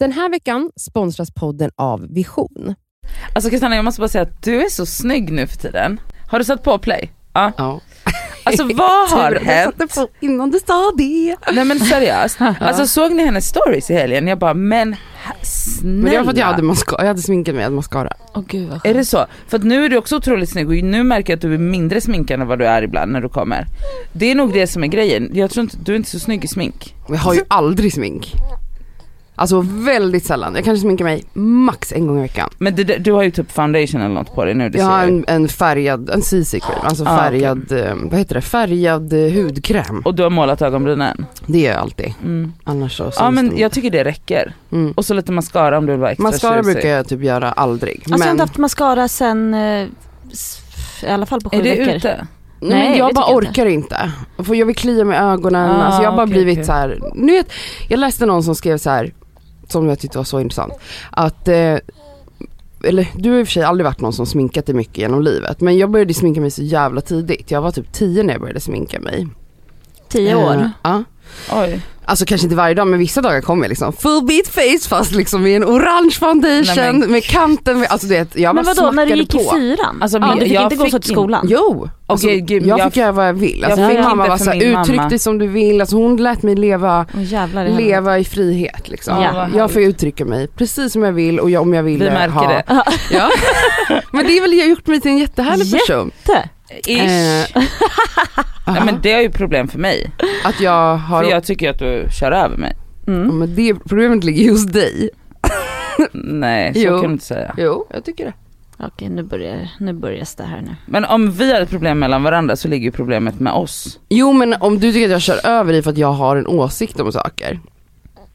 Den här veckan sponsras podden av Vision. Alltså Kristina jag måste bara säga att du är så snygg nu för tiden. Har du satt på play? Ja. Ja. Alltså vad har Tur att jag hänt? satte på Innan du sa det. Nej men seriöst. Alltså såg ni hennes stories i helgen? Jag bara men ha- snälla. Men det var för att jag hade, masca- jag hade sminkat mig, jag hade mascara. Åh gud vad Är skönt. det så? För att nu är du också otroligt snygg och nu märker jag att du är mindre sminkad än vad du är ibland när du kommer. Det är nog det som är grejen. Jag tror inte, du är inte så snygg i smink. Och Jag har ju aldrig smink. Alltså väldigt sällan. Jag kanske sminkar mig max en gång i veckan. Men det, du har ju typ foundation eller något på dig nu. Det Jag ser har jag. en, en färgad, en CC cream, alltså Ah, färgad, eh, vad heter det, färgad eh, hudkräm. Och du har målat ögonbrynen. Det gör jag alltid. Mm. Annars så Ja men jag, jag tycker det räcker. mm. Och så lite mascara om du vill vara extra Mascara tjusig. brukar jag typ göra aldrig. Alltså jag har men, inte haft mascara sen, eh, s- i alla fall på sju Är det veckor. ute? nej, men Nej, jag det bara tycker jag orkar inte. För jag vill klia med ögonen, Ah, alltså jag har bara okej, blivit okej. så här. Ni vet, jag läste någon som skrev så här som jag tyckte var så intressant. Att, eh, eller du har i och för sig aldrig varit någon som sminkat dig mycket genom livet. Men jag började sminka mig så jävla tidigt. Jag var typ 10 när jag började sminka mig. Tio Eh, år. Ja. Oj. Alltså kanske inte varje dag men vissa dagar kommer jag liksom full beat face fast liksom i en orange foundation Nej, men- med kanten, med, alltså du vet jag Men bara vadå, när du smackade gick på. i fyran? Alltså, Alltså, ja, min- du fick jag inte gå fick så till in- skolan? Jo, alltså, Okej, gud, jag, jag- fick göra vad jag vill. Alltså, jag min fick mamma inte var för såhär, min uttryck mamma." dig som du vill. Alltså, hon lät mig leva, Åh, jävlar, det hände. leva i frihet. Liksom. Ja, vad jag får uttrycka mig precis som jag vill och jag, om jag vill eh, Vi märker ha. det. Ja. Men det är väl, jag har gjort mig till en jättehärlig person. Inte? Ish. Eh, Nej, aha, men det är ju problem för mig. att jag har, För jag tycker att du kör över mig. Ja, Mm. men det problemet ligger ju hos dig. Nej, så Jo. kan du inte säga. Jo, jag tycker det. Okej nu börjar, nu börjar det här nu. Men om vi har ett problem mellan varandra så ligger ju problemet med oss. Jo men om du tycker att jag kör över dig för att jag har en åsikt om saker.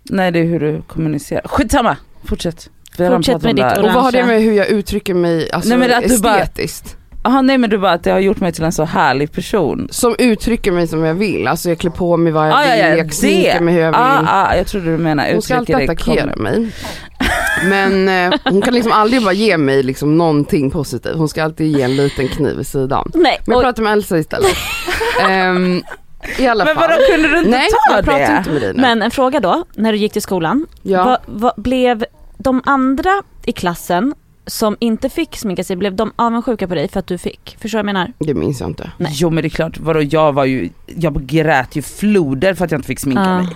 Nej, det är hur du kommunicerar. Skitsamma, fortsätt. Vi har redan Fortsätt pratat om med det ditt här. Och vad har det Kanske. med hur jag uttrycker mig alltså, Nej, men att du bara- estetiskt? Aha, nej men du bara att det har gjort mig till en så härlig person. som uttrycker mig som jag vill. Alltså jag klär på mig vad jag Ah, ja, vill, ja, jag sminkar det. mig hur jag Ah, vill. ah, jag trodde du menade hon ska alltid uttrycker det attackera kom- mig. Men eh, hon kan liksom aldrig bara ge mig liksom någonting positivt. Hon ska alltid ge en liten kniv i sidan. Nej, Men jag och- pratar med Elsa istället. Ehm, I alla Men fall. vadå kunde du inte Nej, ta jag pratar det? inte med dig nu. men en fråga då, när du gick till skolan. ja. Vad- vad- blev de andra i klassen som inte fick sminka sig, blev de avundsjuka på dig för att du fick? Förstår du vad jag menar? Det minns jag inte. Nej. Jo men det är klart, vadå jag var ju, jag grät ju floder för att jag inte fick sminka Ja. mig.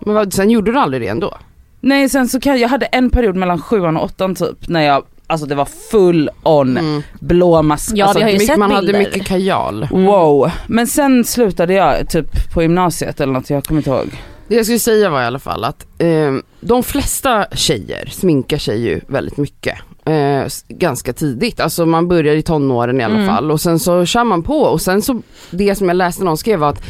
Men vad, sen gjorde du aldrig det ändå? Nej sen så kan jag hade en period mellan sjuan och åttan typ när jag, alltså det var full on Mm. blå mask. Ja, alltså, vi har ju Mycket- sett man hade bilder. mycket kajal. Mm. Wow. Men sen slutade jag typ på gymnasiet eller något, jag kommer inte ihåg. Det jag skulle säga var i alla fall att eh, de flesta tjejer sminkar sig ju väldigt mycket. Eh, s- ganska tidigt, alltså man börjar i tonåren i alla Mm. fall och sen så kör man på och sen så det som jag läste någon skrev var att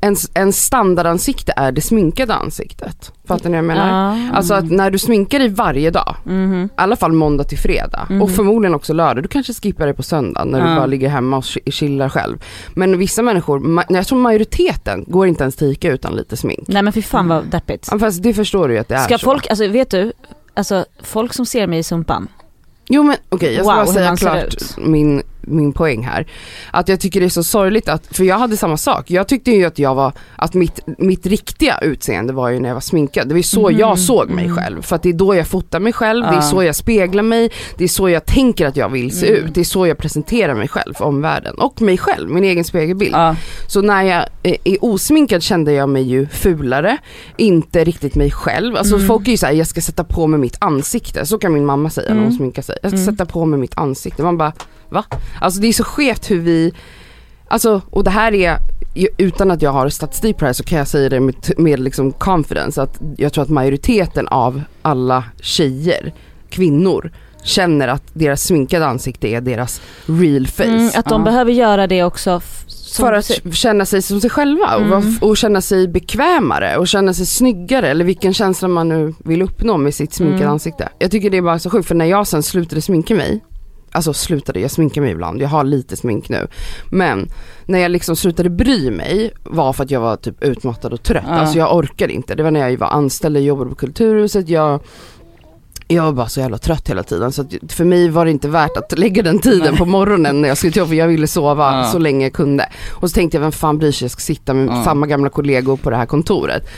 ens, ens standardansikte är det sminkade ansiktet. Fattar ni vad jag menar? Ja. Alltså att när du sminkar dig varje dag, Mhm. i alla fall måndag till fredag och förmodligen också lördag. Du kanske skippar det på söndag när Ja. du bara ligger hemma och chi- chillar själv. Men vissa människor, ma- jag tror majoriteten går inte ens till Ica utan lite smink. Nej men för fan vad deppigt. Ja, Fast det förstår du ju att det är Mm. Ska så. folk, alltså vet du, alltså folk som ser mig i Sumpan, Jo men okej jag ska Wow, bara hur säga man ser klart ut. min, min poäng här. Att jag tycker det är så sorgligt att, för jag hade samma sak. Jag tyckte ju att jag var, att mitt, mitt riktiga utseende var ju när jag var sminkad. Det var ju så Mm-hmm. jag såg mig själv. För att det är då jag fotar mig själv, det är Ja. så jag speglar mig, det är så jag tänker att jag vill Mm. se ut. Det är så jag presenterar mig själv för omvärlden. Och mig själv, min egen spegelbild. Ja. Så när jag eh, är osminkad kände jag mig ju fulare, inte riktigt mig själv. Alltså folk är ju såhär, jag ska sätta på mig mitt ansikte. Så kan min mamma säga när hon sminkar sig. Jag ska sätta på mig mitt ansikte. Man bara, va? Alltså det är så skevt hur vi, alltså och det här är ju- utan att jag har statistik på det här så kan jag säga det med, med liksom confidence att jag tror att majoriteten av alla tjejer, kvinnor, känner att deras sminkade ansikte är deras real face mm, att de Ja. behöver göra det också. f- som- för att känna sig som sig själva Mm. och, vara- och känna sig bekvämare och känna sig snyggare eller vilken känsla man nu vill uppnå med sitt sminkade Mm. ansikte. Jag tycker det är bara så sjukt för när jag sen slutade sminka mig, alltså slutade, jag sminkar mig ibland, jag har lite smink nu. Men när jag liksom slutade bry mig var för att jag var typ utmattad och trött, Ja. alltså jag orkade inte. Det var när jag var anställd, jag jobbade på Kulturhuset, jag jag var bara så jävla trött hela tiden så att för mig var det inte värt att lägga den tiden på morgonen när jag skulle till jobbet. Jag ville sova Ja. så länge jag kunde. Och så tänkte jag, vem fan bryr sig, jag ska sitta med Ja. samma gamla kollegor på det här kontoret.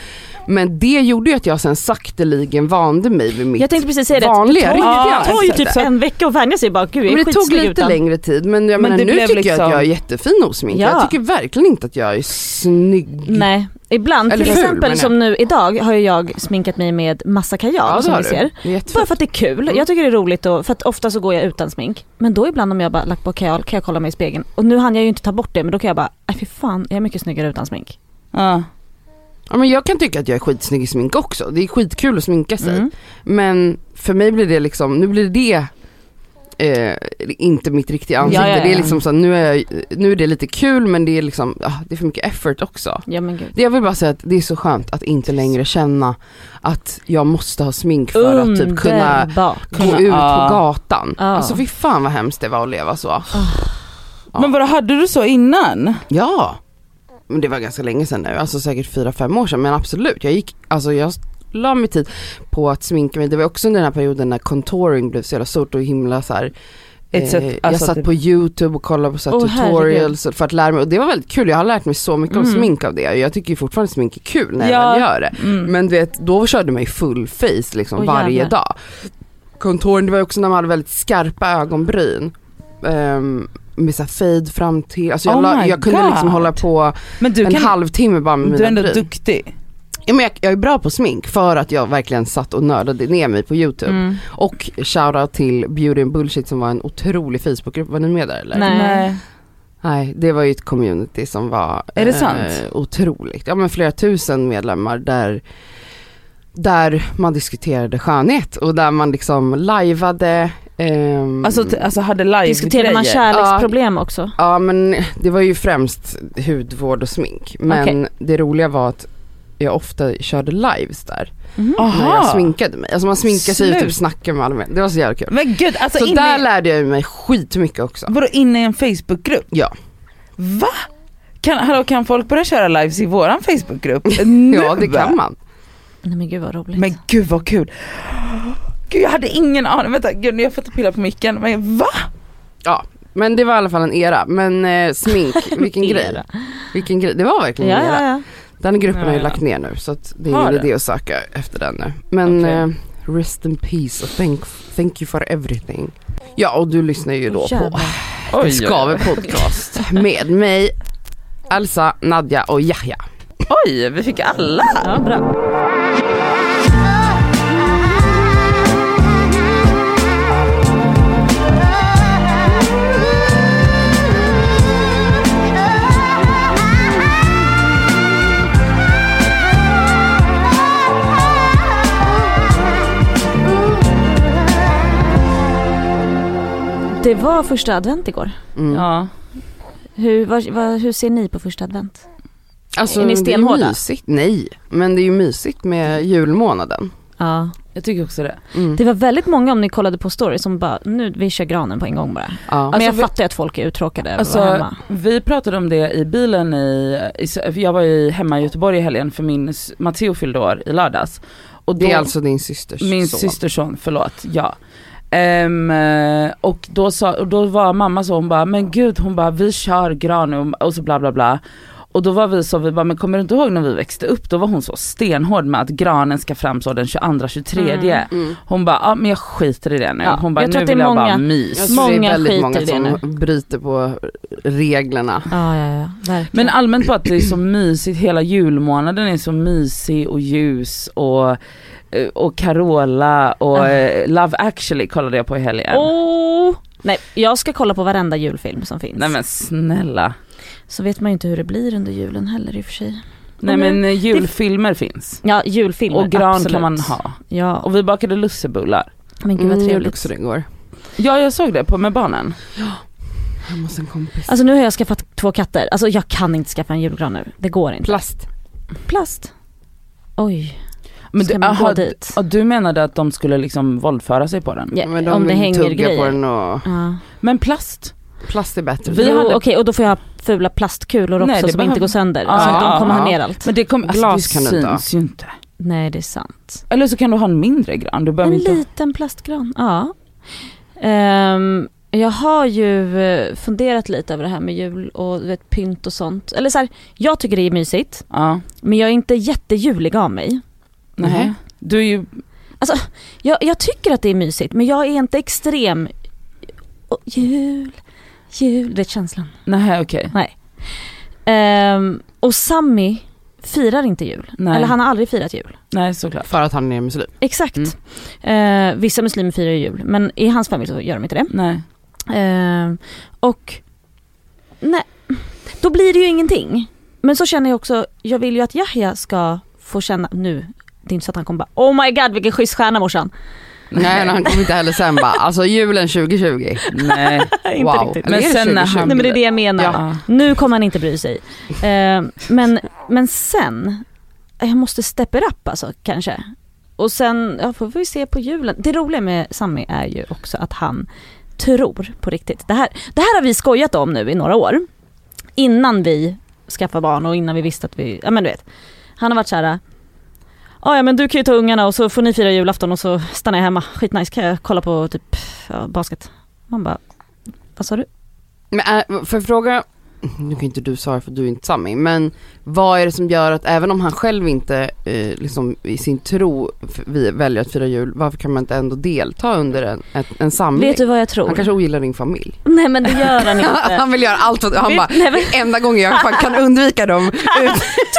Men det gjorde ju att jag sen sakteligen vande mig vid mitt Jag tänkte precis säga det. vanliga, det tar, riktiga ja, det tar ju typ ansikte. en vecka att vänja sig bara, gud jag Men är det tog skitsnygg lite utan. längre tid men jag Men menar det nu blev tycker jag liksom- att jag är jättefin osminkad. Ja. Jag tycker verkligen inte att jag är snygg. Nej, ibland, Eller till ful, exempel menar som nu idag har ju jag sminkat mig med massa kajal det som har ni du. Mm. ser. Det är jättefint. Bara för att det är kul, jag tycker det är roligt och, för att ofta så går jag utan smink. Men då ibland om jag bara lagt på kajal kan jag kolla mig i spegeln och nu hann jag ju inte ta bort det men då kan jag bara, nej fy fan jag är mycket snyggare utan smink. Ja. Ja, men jag kan tycka att jag är skitsnygg i smink också. Det är skitkul att sminka sig. Mm. Men för mig blir det liksom, nu blir det eh, inte mitt riktiga ansikte. Ja, ja, ja. Det är liksom så, här, nu, är jag, nu är det lite kul men det är liksom, ah, det är för mycket effort också. Ja men gud. Det jag vill bara säga att det är så skönt att inte längre känna att jag måste ha smink för att typ kunna Underbart. gå ut Ja. på gatan. Ja. Alltså fy fan vad hemskt det var att leva så. Ja. Men vadå, hade du så innan? Ja, men det var ganska länge sedan nu, alltså säkert fyra fem år sedan men absolut. Jag gick, alltså jag la mig tid på att sminka mig. Det var också under den här perioden när contouring blev så jävla stort och himla så här. Ett sätt- eh, jag alltså satt typ- på youtube och kollade på så här Åh, tutorials för att lära mig och det var väldigt kul. Jag har lärt mig så mycket om Mm. smink av det och jag tycker ju fortfarande smink är kul när Ja. jag väl gör det. Mm. Men du vet, då körde man ju full face liksom Åh, varje jävlar. dag. Contouren, det var ju också när man hade väldigt skarpa ögonbryn. Ehm, med så här fade fram till, alltså jag, Oh la, my jag kunde God. liksom hålla på Men du, en kan, halvtimme bara med du är mina ändå bryn. duktig. Ja, men jag, jag är bra på smink för att jag verkligen satt och nördade ner mig på youtube. Mm. Och shoutout till Beauty and Bullshit som var en otrolig Facebookgrupp, var ni med där eller? Nej. Nej, det var ju ett community som var Är det eh, sant? otroligt. Ja men flera tusen medlemmar där, där man diskuterade skönhet och där man liksom lajvade. ehm, Alltså, t- alltså hade live Diskuterar man grejer. kärleksproblem också? ja men det var ju främst hudvård och smink. Men Okej. det roliga var att jag ofta körde lives där Mhm. när jag Aha. sminkade mig. Alltså man sminkade sig och Snyggt. typ snackade med allmänheten. Det var så jävla kul. Men gud, alltså Så inne, där lärde jag mig skitmycket också. vadå, inne i en Facebookgrupp? Ja. Va? Kan, hallå, kan folk börja köra lives i våran Facebookgrupp? Nu? Ja det kan man. Nej men gud vad roligt. Men gud vad kul. Gud jag hade ingen aning, vänta gud nu har jag fått pilla på micken. Men va? Ja, men det var i alla fall en era. Men eh, smink, vilken grej. Era. Vilken grej. Det var verkligen Ja, en ja, era. ja. Den gruppen har ju Ja, ja. lagt ner nu så att det är Har ingen det? idé att söka efter den nu. Men Okej. eh, rest in peace och thank, thank you for everything. Ja och du lyssnar ju då Åh, på jävlar. En Skaver podcast med mig Elsa, Nadja och Yahya. Oj, vi fick alla. Ja, bra. Det var första advent igår. Mm. Ja. Hur, vad, vad, hur ser ni på första advent? Alltså, Är det ni är ju stenhårda? mysigt. Nej, men det är ju mysigt med julmånaden. Ja. Jag tycker också det. Mm. Det var väldigt många om ni kollade på story som bara, nu vi kör granen på en gång bara. Ja. men jag vi- fattar ju att folk är uttråkade över att Alltså, vara hemma. Vi pratade om det i bilen i, i för jag var ju hemma i Göteborg i helgen för min, s- Matteo fyllde år i lördags. Och Det är alltså din systers Min son. systers son, förlåt, ja. Ehm, eh, och, då sa, och då var mamma så, hon bara, men gud, hon bara, vi kör gran nu och så bla bla bla. Och då var vi så, vi bara, men kommer du inte ihåg när vi växte upp? Då var hon så stenhård med att granen ska fram så den 22-23. Mm. Hon bara, ja men jag skiter i det nu. Ja, hon bara, jag tror nu att det är vill jag bara många- Jag mys. tror det Många är väldigt skiter många i det som bryter på reglerna. Ja, ja, ja, verkligen. Men ah, allmänt bara att det är så mysigt, hela julmånaden är så mysig och ljus och, eh, och Carola och Ah. eh, Love actually kollade jag på i helgen. Åh! Nej, jag ska kolla på varenda julfilm som finns. Nej men snälla. Så vet man ju inte hur det blir under julen heller i och för sig. Nej men eh, julfilmer finns. Ja, julfilmer, Och gran absolut. kan man ha. Ja, Och vi bakade lussebullar. men gud vad Mm, jag gjorde trevligt. också det igår. Ja jag såg det på med barnen. Hemma hos en kompis. Alltså nu har jag skaffat två katter. Alltså jag kan inte skaffa en julgran nu. Det går inte. plast. Plast. Oj. Men Ska du, man gå aha, dit? och du menade att de skulle liksom våldföra sig på den. Ja, Men de om det vill hänger tugga grejer. på den och Ja. Men plast? plast är bättre. Vi jo, hade- Okej och då får jag ha fula plastkulor också Nej, det som behöver- inte går sönder. Ja, så att de ja, kommer ja. ha ner allt. Men det, kom, alltså, Glas det kan du inte ha. syns ju inte. Nej det är sant. Eller så kan du ha en mindre gran. Du behöver En inte ha- liten plastgran, ja. Ehm, Jag har ju eh, funderat lite över det här med jul och du vet, pynt och sånt. Eller så här, jag tycker det är mysigt, Ja. men jag är inte jättejulig av mig. Nej. Nej. Du är ju, Jag, jag tycker att det är mysigt, men jag är inte extrem. Åh, jul, jul, det är känslan. nej okej. Ehm, och Sammy firar inte jul. Nej. Eller han har aldrig firat jul. Nej såklart. För att han är muslim. Exakt. Eh, vissa muslimer firar ju jul, men i hans familj så gör de inte det. Nej. Eh, och nej, då blir det ju ingenting. Men så känner jag också, jag vill ju att Yahya ska få känna, nu, det är inte så att han kommer bara oh my god vilken schysst stjärna morsan. Nej, men han kommer inte heller sen bara, alltså julen 2020. Nej. Inte Wow. riktigt. Men Eller är sen när han- Nej men det är det jag menar. Ja. Nu kommer han inte bry sig. Eh, men, men sen, jag måste steppa upp alltså kanske. Och sen ja, får vi se på julen. Det roliga med Sammy är ju också att han tror på riktigt. Det här, det här har vi skojat om nu i några år. Innan vi skaffade barn och innan vi visste att vi, ja men du vet. Han har varit så här. "Ah, Ja men du kan ju ta ungarna och så får ni fira julafton och så stannar jag hemma. Skitnice, kan jag kolla på typ ja, basket? Man bara, vad sa du? Men äh, för fråga, nu kan inte du svara för du är inte Sami, men vad är det som gör att även om han själv inte eh, liksom i sin tro f- vi- väljer att fira jul, varför kan man inte ändå delta under en, ett, en samling? Vet du vad jag tror? Mm. han kanske ogillar din familj. Nej men det gör han inte. han vill göra allt, för- han Vet- bara, nej, men, enda gången jag fan kan undvika dem.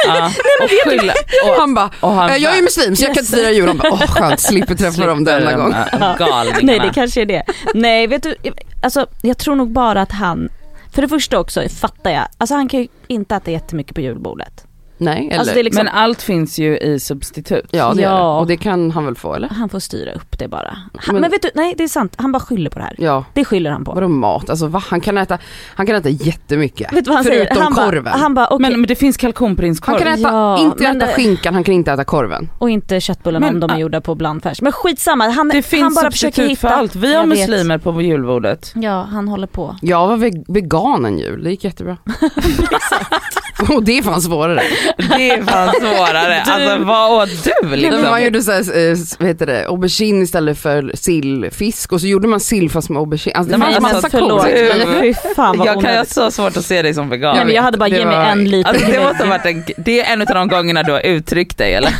Ja. Och skylla. Och, Han bara, och han "Eh, jag är ju muslim så jag kan inte fira jul. Han bara, åh skönt, slipper träffa dem denna gång. Slipper de här Galningarna. nej det kanske är det. Nej vet du, alltså jag tror nog bara att han, för det första också fattar jag, alltså han kan ju inte äta jättemycket på julbordet. Nej, eller? Alltså det är liksom, Men allt finns ju i substitut. ja, det Är Ja. det. Och det kan han väl få eller? han får styra upp det bara. Han, Men- men, vet du, nej det är sant, han bara skyller på det här. Ja. Det skyller han på. Vadå mat? Alltså va? Han kan äta, han kan äta jättemycket. Vet du vad han förutom säger? Han korven. Bara, han bara okej, Men, men det finns han kan kalkonprinskorv. äta, Ja, inte men äta det- skinkan, han kan inte äta korven. och inte köttbullarna Men, om de är ah. gjorda på blandfärs. Men skitsamma, han, Det han finns bara försöker substitut för hitta. allt. Vi har Jag vet. muslimer på julbordet. Ja han håller på. Jag var veg- vegan en jul, det gick jättebra. och det är fan svårare. Det är fan svårare. Alltså vad åt du Nej, men liksom? man gjorde så här, eh, vad heter det, aubergine istället för sill, fisk och så gjorde man sill fast med aubergine. Alltså, det Nej, men fanns massa alltså, coolt. förlåt, Mm. men fy fan vad Jag kan jag har onödigt. så svårt att se dig som vegan. Nej men jag hade bara Det ge mig var- en liten Alltså det grej. måste ha varit en, det är en av de gångerna du har uttryckt dig eller?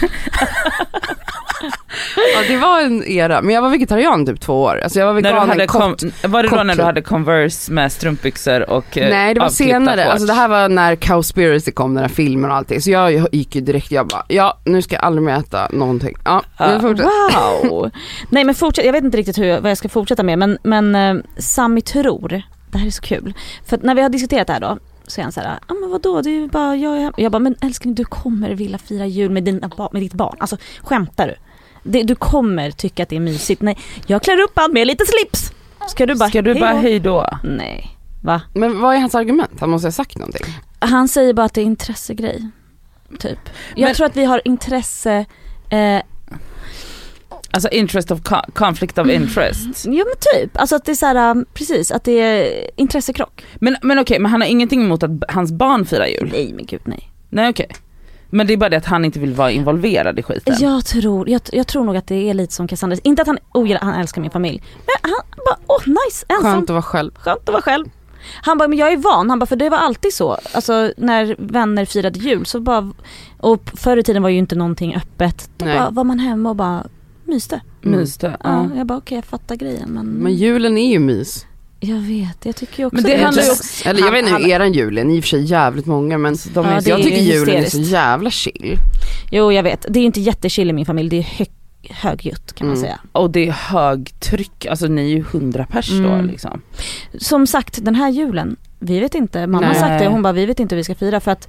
Ja, det var en era, men jag var vegetarian typ två år. Alltså jag var När vegan du hade en kort kom, var det då kort när du tid. hade Converse med strumpbyxor och eh, Nej det var avklippta senare, shorts? alltså det här var när Cowspiracy kom, den här filmen och allting. Så jag gick ju direkt, jag bara, ja nu ska jag aldrig mer äta någonting. Ja, Ja. nu fortsätter. Ah, Wow! Nej men fortsätt, jag vet inte riktigt hur, jag- vad jag ska fortsätta med men, men eh, Sami tror, det här är så kul, för att när vi har diskuterat det här då så är han såhär, ja ah, men vadå det är ju bara jag, jag. jag bara, men älskling du kommer vilja fira jul med, dina ba- med ditt barn, alltså skämtar du? Det, du kommer tycka att det är mysigt, nej jag klär upp allt med lite slips! Ska du bara, Ska du "Hej bara då?" hejdå? Nej, va? Men vad är hans argument? Han måste ha sagt någonting. Han säger bara att det är intressegrej. Typ. Jag Men- tror att vi har intresse, eh, Alltså interest of co- conflict of interest. ja men typ, alltså att det är såhär, eh, precis, att det är intressekrock. Men, men okej, men han har ingenting emot att b- hans barn firar jul? Nej men gud nej. Nej okej. Men det är bara det att han inte vill vara involverad i skiten. Jag tror, jag, jag tror nog att det är lite som Cassandra, inte att han ogillar, han älskar min familj. Men han bara, åh nice, Alltså. ensam, Skönt skönt. att vara själv. att vara själv. Han bara, men jag är van, han bara, för det var alltid så. Alltså när vänner firade jul så bara, och förr i tiden var ju inte någonting öppet. Då Nej. bara var man hemma och bara myste. Mm. Mys det. Ja. Ja. jag bara okej jag fattar grejen men, Men julen är ju mys. jag vet, jag tycker ju också Men det det. handlar ju också- Eller jag han- vet inte hur han- eran jul är, ni är i och för sig jävligt många men Alltså, de Ja, är det så- jag är tycker julen är så hysteriskt. jävla chill. Jo jag vet, det är ju inte jättechill i min familj, det är hög, högljutt kan man Mm. säga. Och det är högtryck, alltså ni är ju hundra pers då Mm. liksom. som sagt den här julen, vi vet inte. Mamma har Nej. sagt det, hon bara vi vet inte hur vi ska fira för att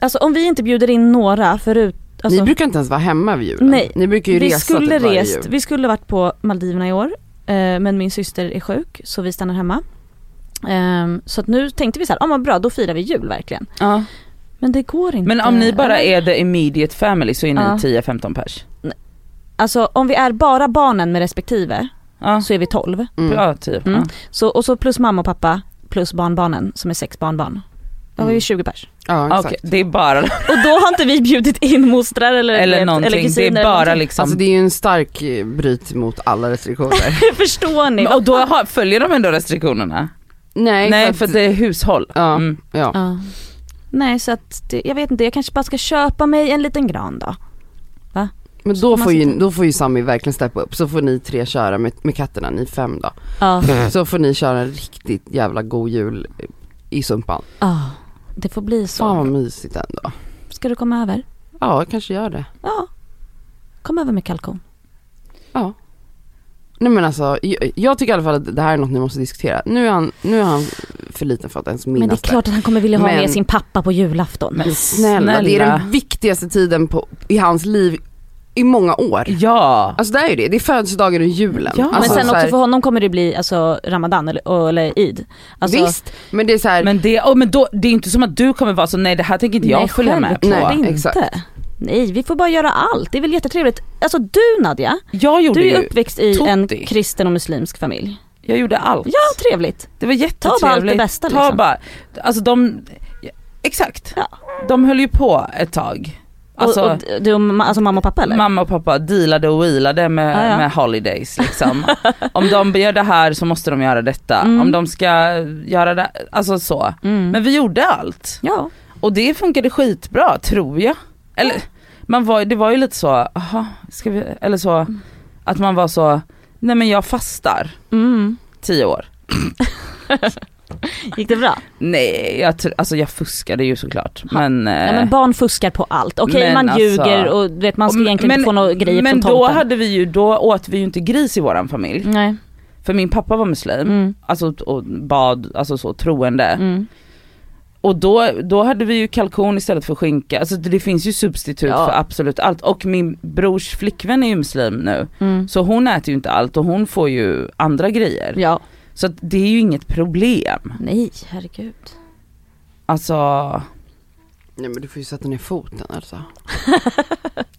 Alltså om vi inte bjuder in några förut, alltså, ni brukar inte ens vara hemma vid julen. Nej. Ni brukar ju vi resa skulle typ varje rest, jul. vi skulle varit på Maldiverna i år eh, men min syster är sjuk så vi stannar hemma. Eh, så att nu tänkte vi så här, ja men bra då firar vi jul verkligen. Ja. Men det går inte. Men om ni bara är the immediate family så är ni Ja. 10-15 pers? Alltså om vi är bara barnen med respektive Ja, så är vi 12. Mm. ja 10. Mm. Så, och så plus mamma och pappa plus barnbarnen som är sex barnbarn. Då var vi Mm. 20 pers. Ja, Ah, exakt. Okej, det är bara, Och då har inte vi bjudit in mostrar eller, eller någonting, det kusiner är eller bara någonting. liksom. Alltså det är ju en stark eh, bryt mot alla restriktioner. Förstår ni? Men- och då har, följer de ändå restriktionerna? Nej, Nej för för att- det är hushåll. Ja. Mm. ja. Ja. Nej så att, det, jag vet inte, jag kanske bara ska köpa mig en liten gran då. Men då man får, ju, sitter- då får ju Sami verkligen steppa upp, så får ni tre köra med, med katterna, ni fem då. Ja. Så får ni köra en riktigt jävla god jul i Sumpan. Ja. Det får bli Fan vad så. mysigt ändå. Ska du komma över? Ja, jag kanske gör det. Ja. Kom över med kalkon. Nej men alltså, jag, jag tycker i alla fall att det här är något ni måste diskutera. Nu är han, nu är han för liten för att ens minnas Men det är klart att han kommer vilja ha Men- med sin pappa på julafton. Men Snälla, det är den viktigaste tiden på, i hans liv i många år. Ja, Alltså det är ju det, det är födelsedagen och julen. Ja, men alltså, men sen så här, också för honom kommer det bli alltså, ramadan eller, eller id. Alltså, Visst, men det är så här, men, det, oh, men då, det är inte som att du kommer vara så nej det här tänker inte jag följa med på. självklart Nej, inte. exakt. Nej, vi får bara göra allt. Det är väl jättetrevligt. Alltså du Nadja, Jag gjorde du är ju, uppväxt i Totti. en kristen och muslimsk familj. jag gjorde allt. Ja, trevligt. Det var Ta jättetrevligt. bara allt det bästa Ta liksom. bara, alltså de, exakt. Ja. De höll ju på ett tag. Alltså, och, och du, och ma- alltså mamma och pappa eller? Mamma och pappa dealade och wheelade med, Ja, ja. med holidays liksom. Om de gör det här så måste de göra detta. Mm. Om de ska göra det, alltså så. mm. Men vi gjorde allt. ja. Och det funkade skitbra tror jag. Eller man var, det var ju lite så, aha, ska vi, eller så att man var så, nej men jag fastar Mm. tio år. Gick det bra? Eh. Nej, jag, tr- alltså jag fuskade ju såklart. Men, Ja, eh, men barn fuskar på allt. Okej Men man alltså- ljuger och du vet, man ska och- egentligen inte få några grejer Men från då tomten. hade vi ju, då åt vi ju inte gris i våran familj. Nej. För min pappa var muslim, Mm. alltså och bad, alltså så troende. Mm. Och då, då hade vi ju kalkon istället för skinka, alltså det det finns ju substitut Ja. för absolut allt. Och min brors flickvän är ju muslim nu, Mm. så hon äter ju inte allt och hon får ju andra grejer. Ja. Så att det är ju inget problem. Nej, herregud. Alltså, nej men du får ju sätta ner foten alltså.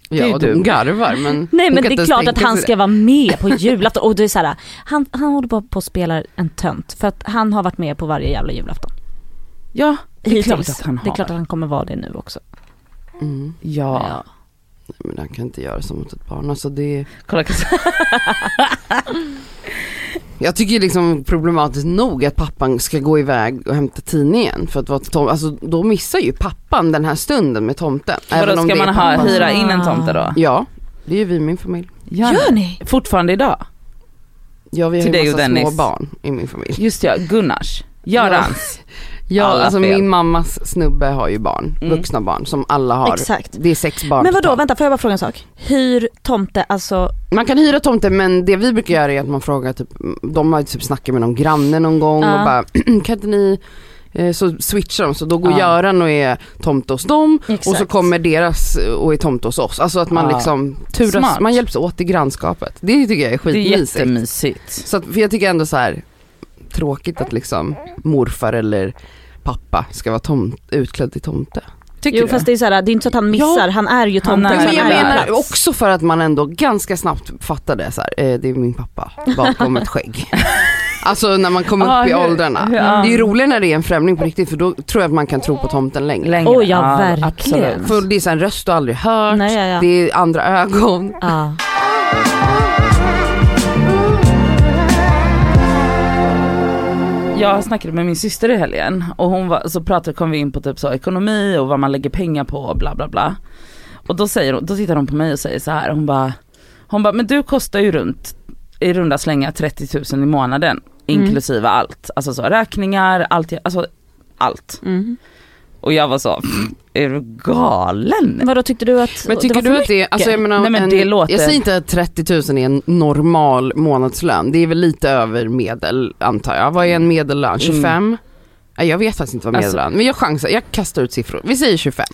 är ju ja, de dumt. garvar men. Nej hon kan men det inte är ens klart att tänka han sig ska vara med på julafton och det är så här, han, han håller bara på och spelar en tönt för att han har varit med på varje jävla julafton. ja det är klart Hittills. att han har. Det är klart att han kommer vara det nu också. det. Mm. Ja. Nej, men han kan inte göra så mot ett barn. Alltså det, Kolla Kajsa. jag tycker ju liksom problematiskt nog att pappan ska gå iväg och hämta tidningen för att vara tom, alltså då missar ju pappan den här stunden med tomten. Vadå även om ska det är man ha, pappans- hyra in en tomte då? Ja, det är ju vi i min familj. Ja. Gör ni? Fortfarande idag? Ja vi har Till dig ju och massa små Dennis. barn i min familj. Just ja, Gunnars. Görans. Ja, Alla alltså fel. min mammas snubbe har ju barn, Mm. vuxna barn som alla har. Exakt. Det är sex barn Men vadå, totalt. vänta får jag bara fråga en sak? Hyr tomte, alltså, Man kan hyra tomte men det vi brukar göra är att man frågar typ, de har ju typ snackat med någon granne någon gång Ja. och bara kan inte ni eh, så switchar de, så då går Ja. Göran och är tomte hos dem Exakt. och så kommer deras eh, och är tomte hos oss. Alltså att man Ja. liksom turas, Smart. man hjälps åt i grannskapet. Det tycker jag är det är skitmysigt. jättemysigt. så att, för jag tycker ändå så här tråkigt att liksom morfar eller pappa ska vara tom, utklädd till tomte. Tycker jo du? fast det är så här, det är inte så att han missar, han är ju Han tomte. är- så Nej, men jag är ju menar plats. också för att man ändå ganska snabbt fattade så här, eh, det är min pappa bakom ett skägg. Alltså när man kommer upp Ja, i hur- åldrarna. hur- det ja. är ju roligare när det är en främling på riktigt för då tror jag att man kan tro på tomten längre. Längre. Oj, ja, verkligen. absolut. För det är så här, en röst du aldrig hört, Nej, ja, ja. det är andra ögon. Ja. Jag snackade med min syster i helgen och hon var, så pratade, kom vi in på typ så ekonomi och vad man lägger pengar på och bla bla bla. Och då, säger, hon- då tittar hon på mig och säger så här, hon bara, hon bara, men du kostar ju runt, i runda slängar 30 000 i månaden Mm. inklusive allt. Alltså så räkningar, allt, alltså allt. Mm. Och jag var så, är du galen? Vadå tyckte du att Men tycker det du var att det, alltså jag menar, Nej, men en, det låter- jag säger inte att 30 000 är en normal månadslön, det är väl lite över medel antar jag. Vad är en medellön? 25? Nej, Jag vet faktiskt inte vad Mm. Alltså- medellön men jag chansar, jag kastar ut siffror. Vi säger 25.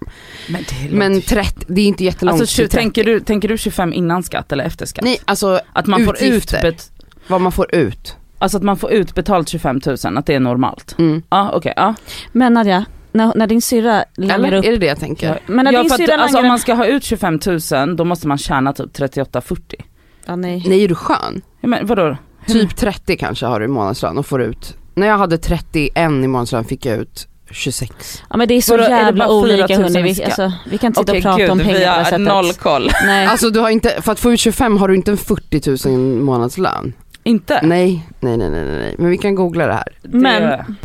Men det låter Men 30, det är inte jättelångt Alltså, tju- till 30. tänker, du, tänker du 25 innan skatt eller efter skatt? Nej, alltså att man får utgifter. utbet- vad man får ut. Alltså att man får utbetalt 25 000, att det är normalt? Mm. Ja okej, ja. Men Nadja, när, när din syrra Eller langar upp, är det det jag tänker? men när ja din för att, syrra alltså, langar om upp, man ska ha ut 25 000 då måste man tjäna typ 38-40. ja, nej. Nej är du skön? Ja, Men vadå? Typ 30 kanske har du i månadslön och får ut. När jag hade 31 i månadslön fick jag ut 26. Ja men det är så Vadå, är det jävla bara olika 4000 hörni, vi vi, ska- alltså, vi kan inte sitta Okej och prata om gud, pengar vi på det har sättet. noll koll. Nej. Alltså du har inte, för att få ut 25 har du inte en 40 000 månadslön. Inte? Nej, nej, nej, nej, nej, nej. men vi kan googla det här. Det- Men-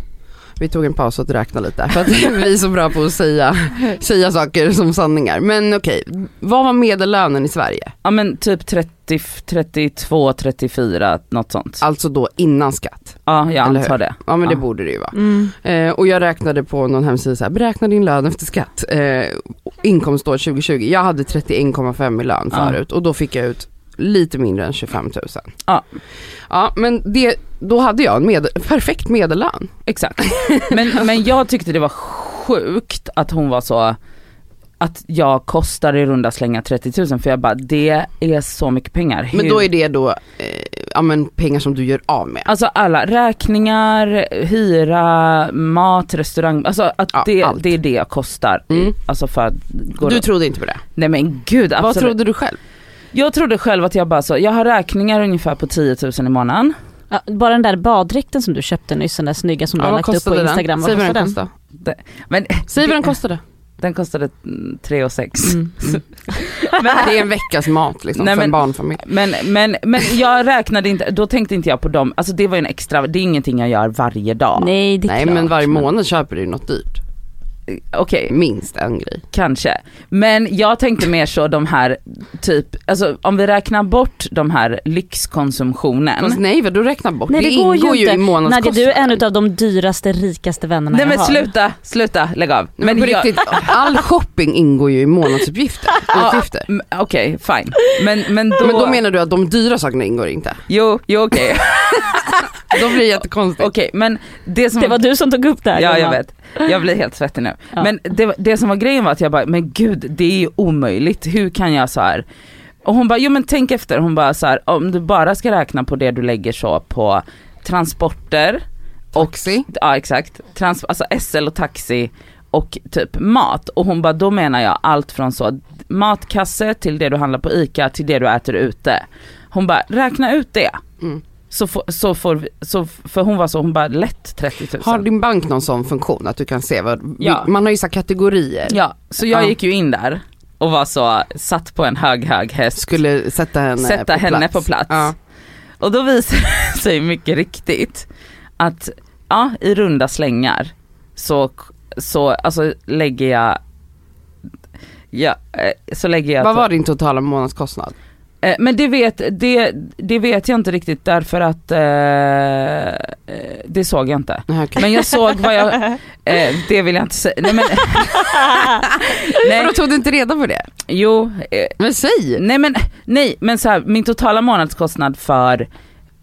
Vi tog en paus och räkna lite för att vi är så bra på att säga, säga saker som sanningar. Men okej, vad var medellönen i Sverige? Ja men typ 30, 32, 34, något sånt. Alltså då innan skatt. Ja jag Eller antar det. Ja men det Ja. borde det ju vara. Mm. Eh, och jag räknade på någon hemsida så här, beräkna din lön efter skatt. Eh, inkomstår 2020, jag hade 31,5 i lön Ja. förut och då fick jag ut lite mindre än 25 000. Ja. Ja men det, då hade jag en med, perfekt medellön. Exakt. Men, men jag tyckte det var sjukt att hon var så, att jag kostar i runda slänga 30 000 för jag bara det är så mycket pengar. Men Hur- då är det då, eh, ja men pengar som du gör av med. Alltså alla räkningar, hyra, mat, restaurang, alltså att Ja, det, allt. det är det jag kostar. Mm. Alltså för att gå Du runt. trodde inte på det? Nej men gud absolut. Vad trodde du själv? Jag trodde själv att jag bara så, jag har räkningar ungefär på 10 000 i månaden. Ja, bara den där baddräkten som du köpte nyss, den där snygga som du har lagt upp på Instagram, vad Säg vad kostade den den? kostade. Men Säg vad den kostade. den kostade mm, 3 och 6. Det är en veckas mat liksom Nej, för en men- barnfamilj. Mm, Men, men, men jag räknade inte, då tänkte inte jag på dem, alltså det var ju en extra, det är ingenting jag gör varje dag. Nej det är Nej klart. men varje men- månad köper du ju något dyrt. Okej, Minst en grej. kanske. Men jag tänkte mer så de här, typ, alltså om vi räknar bort de här lyxkonsumtionen. Fast nej vad du räknar bort. Nej det, går ju ingår inte. i Nadja månadskostnaden. du är en utav de dyraste, rikaste vännerna Nej jag men har. sluta, sluta, lägg av. Men, på jag- riktigt, all shopping ingår ju i månadsuppgifter. Ja, Utgifter. m- Mm, Okej, fine. Men, men, då, Men då menar du att de dyra sakerna ingår inte? Jo, jo okej. Då blir det jättekonstigt. Okej, men det som... Det var du som tog upp det här Ja jag gumman. vet, jag blir helt svettig nu. Ja. Men det, det som var grejen var att jag bara, men gud det är ju omöjligt, hur kan jag så här? Och hon bara, jo men tänk efter, hon bara så här, om du bara ska räkna på det du lägger så på transporter, Oxy. ja exakt, Trans, alltså SL och taxi och typ mat. Och hon bara, då menar jag allt från så matkasse till det du handlar på ICA till det du äter ute. Hon bara, räkna ut det. Mm. Så, får- så får vi, så, för hon var så, hon bara lätt 30 000. Har din bank någon sån funktion att du kan se vad, Ja. man har ju så här kategorier. Ja, så jag Ja. gick ju in där och var så, satt på en hög hög häst, Skulle sätta henne sätta på henne plats. på plats. Ja. Och då visade det sig mycket riktigt att, ja i runda slängar så, så alltså lägger jag, ja, eh, så lägger jag Vad var din totala månadskostnad? Eh, Men det vet, det, det vet jag inte riktigt därför att eh, eh, det såg jag inte. Nej, okej. Men jag såg vad jag, eh, det vill jag inte säga. Nej, men, nej, Vadå tog du inte reda på det? jo, eh, Men säg! Nej men, nej, men så här, min totala månadskostnad för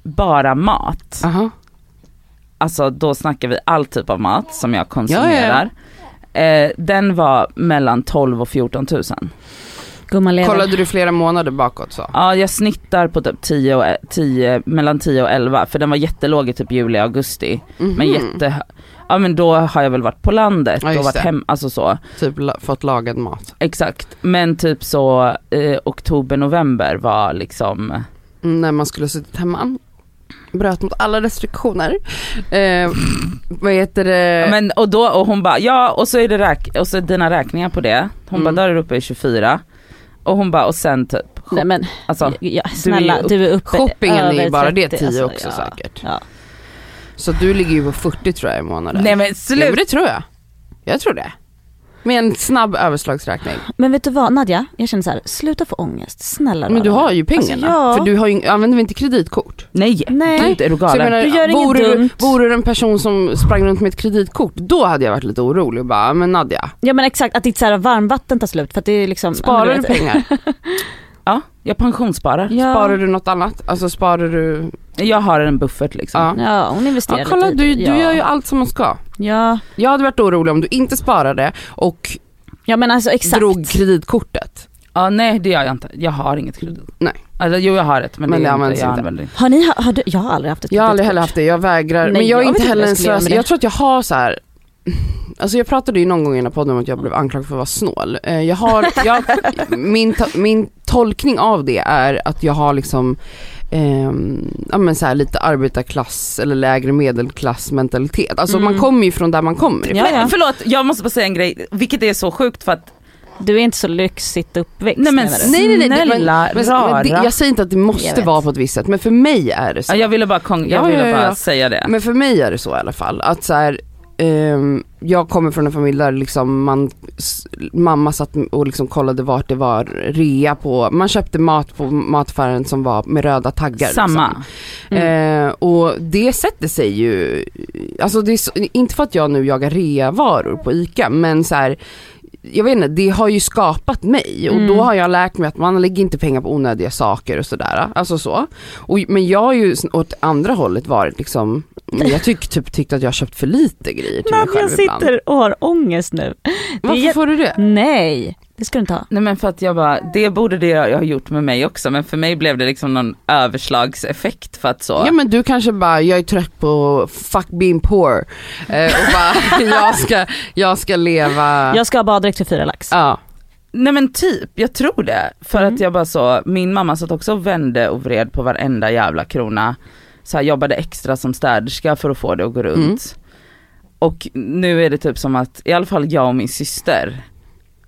bara mat, Aha. alltså då snackar vi all typ av mat som jag konsumerar. Eh, den var mellan 12 och 14 000. Gumman lever. Kollade du flera månader bakåt så? Ja jag snittar på typ 10 och, 10, mellan 10 och 11 för den var jättelåg i typ juli, augusti. Mhm. Men jätte, ja men då har jag väl varit på landet Ja, och just varit det. hem, alltså så. Typ la- fått lagad mat. Exakt, men typ så eh, oktober, november var liksom, Mm, När man skulle ha suttit hemma. Bröt mot alla restriktioner. Eh, vad heter det? Ja, Men, och, då, och hon bara, ja och så är det räk och så är dina räkningar på det. Hon Mm. bara, där är du uppe i 24. Och hon bara, och sen typ, Nej men alltså, ja, snälla upp- du är uppe Shoppingen är ju över bara det 30, 10 alltså, också ja. säkert. Ja. Så du ligger ju på 40 tror jag i månaden. nej men Jo, men slut. det tror jag. Jag tror det. Med en snabb överslagsräkning. Men vet du vad Nadja, jag känner så här, sluta få ångest, snälla Men du rara. har ju pengarna. Alltså, ja. För du har ju, använder vi inte kreditkort? Nej, Nej. gud är du Så jag galen? menar, Du gör inget vore, dumt. Du, vore du en person som sprang runt med ett kreditkort, då hade jag varit lite orolig och bara, men Nadja, Ja men exakt, att ditt så här varmvatten tar slut för att det är liksom sparar Mm. ja, du men pengar? Ja, jag pensionssparar. Ja. Sparar du något annat? Alltså sparar du, Jag har en buffert liksom. ja. Ja hon investerar Ja kolla lite du, i det. du ja. gör ju allt som man ska. Ja, Jag hade varit orolig om du inte sparade och ja men alltså exakt. drog kreditkortet. Ja nej det gör jag inte, jag har inget kredit. Nej. Alltså, jo jag har ett men, Men det det, är används inte, jag inte. använder inte. Har ni, har, har du, jag har aldrig haft ett Jag har aldrig kreditkort. heller haft det, jag vägrar. Nej, men jag är jag vet inte inte heller en vad jag skulle göra med slös. det. Jag tror att jag har så här. Alltså jag pratade ju någon gång i den här podden om att jag blev anklagad för att vara snål. Eh, Jag har, jag, min, ta, min tolkning av det är att jag har liksom ehm, ja, men så här lite arbetarklass eller lägre medelklass mentalitet. Alltså Mm. man kommer ju från där man kommer ifrån. Ja, ja. Förlåt, jag måste bara säga en grej, vilket är så sjukt för att Du är inte så lyxigt uppväxt Nej, men menar du? snälla, Nej, nej, nej, det- men- Snälla, men, men det, rara. jag säger inte att det Jag måste vet. vara på ett visst sätt men för mig är det så. ja, jag ville bara, kon- jag Ja, ville ja, ja, bara ja. säga det. Men för mig är det så i alla fall. Att så här, ehm, jag kommer från en familj där liksom man, s, mamma satt och liksom kollade vart det var rea på, man köpte mat på mataffären som var med röda taggar. Samma. Liksom. Eh, och det sätter sig ju, alltså det är så, inte för att jag nu jagar reavaror på ICA men så här, jag vet inte, det har ju skapat mig och Mm. då har jag lärt mig att man lägger inte pengar på onödiga saker och sådär. Alltså så. Och, men jag har ju s- åt andra hållet varit liksom, jag tyck, typ tyckt att jag har köpt för lite grejer till mig Men jag själv ibland. sitter och har ångest nu. Varför jät- får du det? Nej, det ska du inte ha. Nej men för att jag bara, det borde det jag har gjort med mig också men för mig blev det liksom någon överslagseffekt för att så. Ja men du kanske bara, jag är trött på fuck being poor eh, och bara, jag ska, jag ska leva, Jag ska ha baddräkt för fyra lax. ja. Nej men typ, jag tror det. För Mm. att jag bara så, min mamma satt också och vände och vred på varenda jävla krona. Så här, jobbade extra som städerska för att få det att gå runt. Mm. Och nu är det typ som att, i alla fall jag och min syster,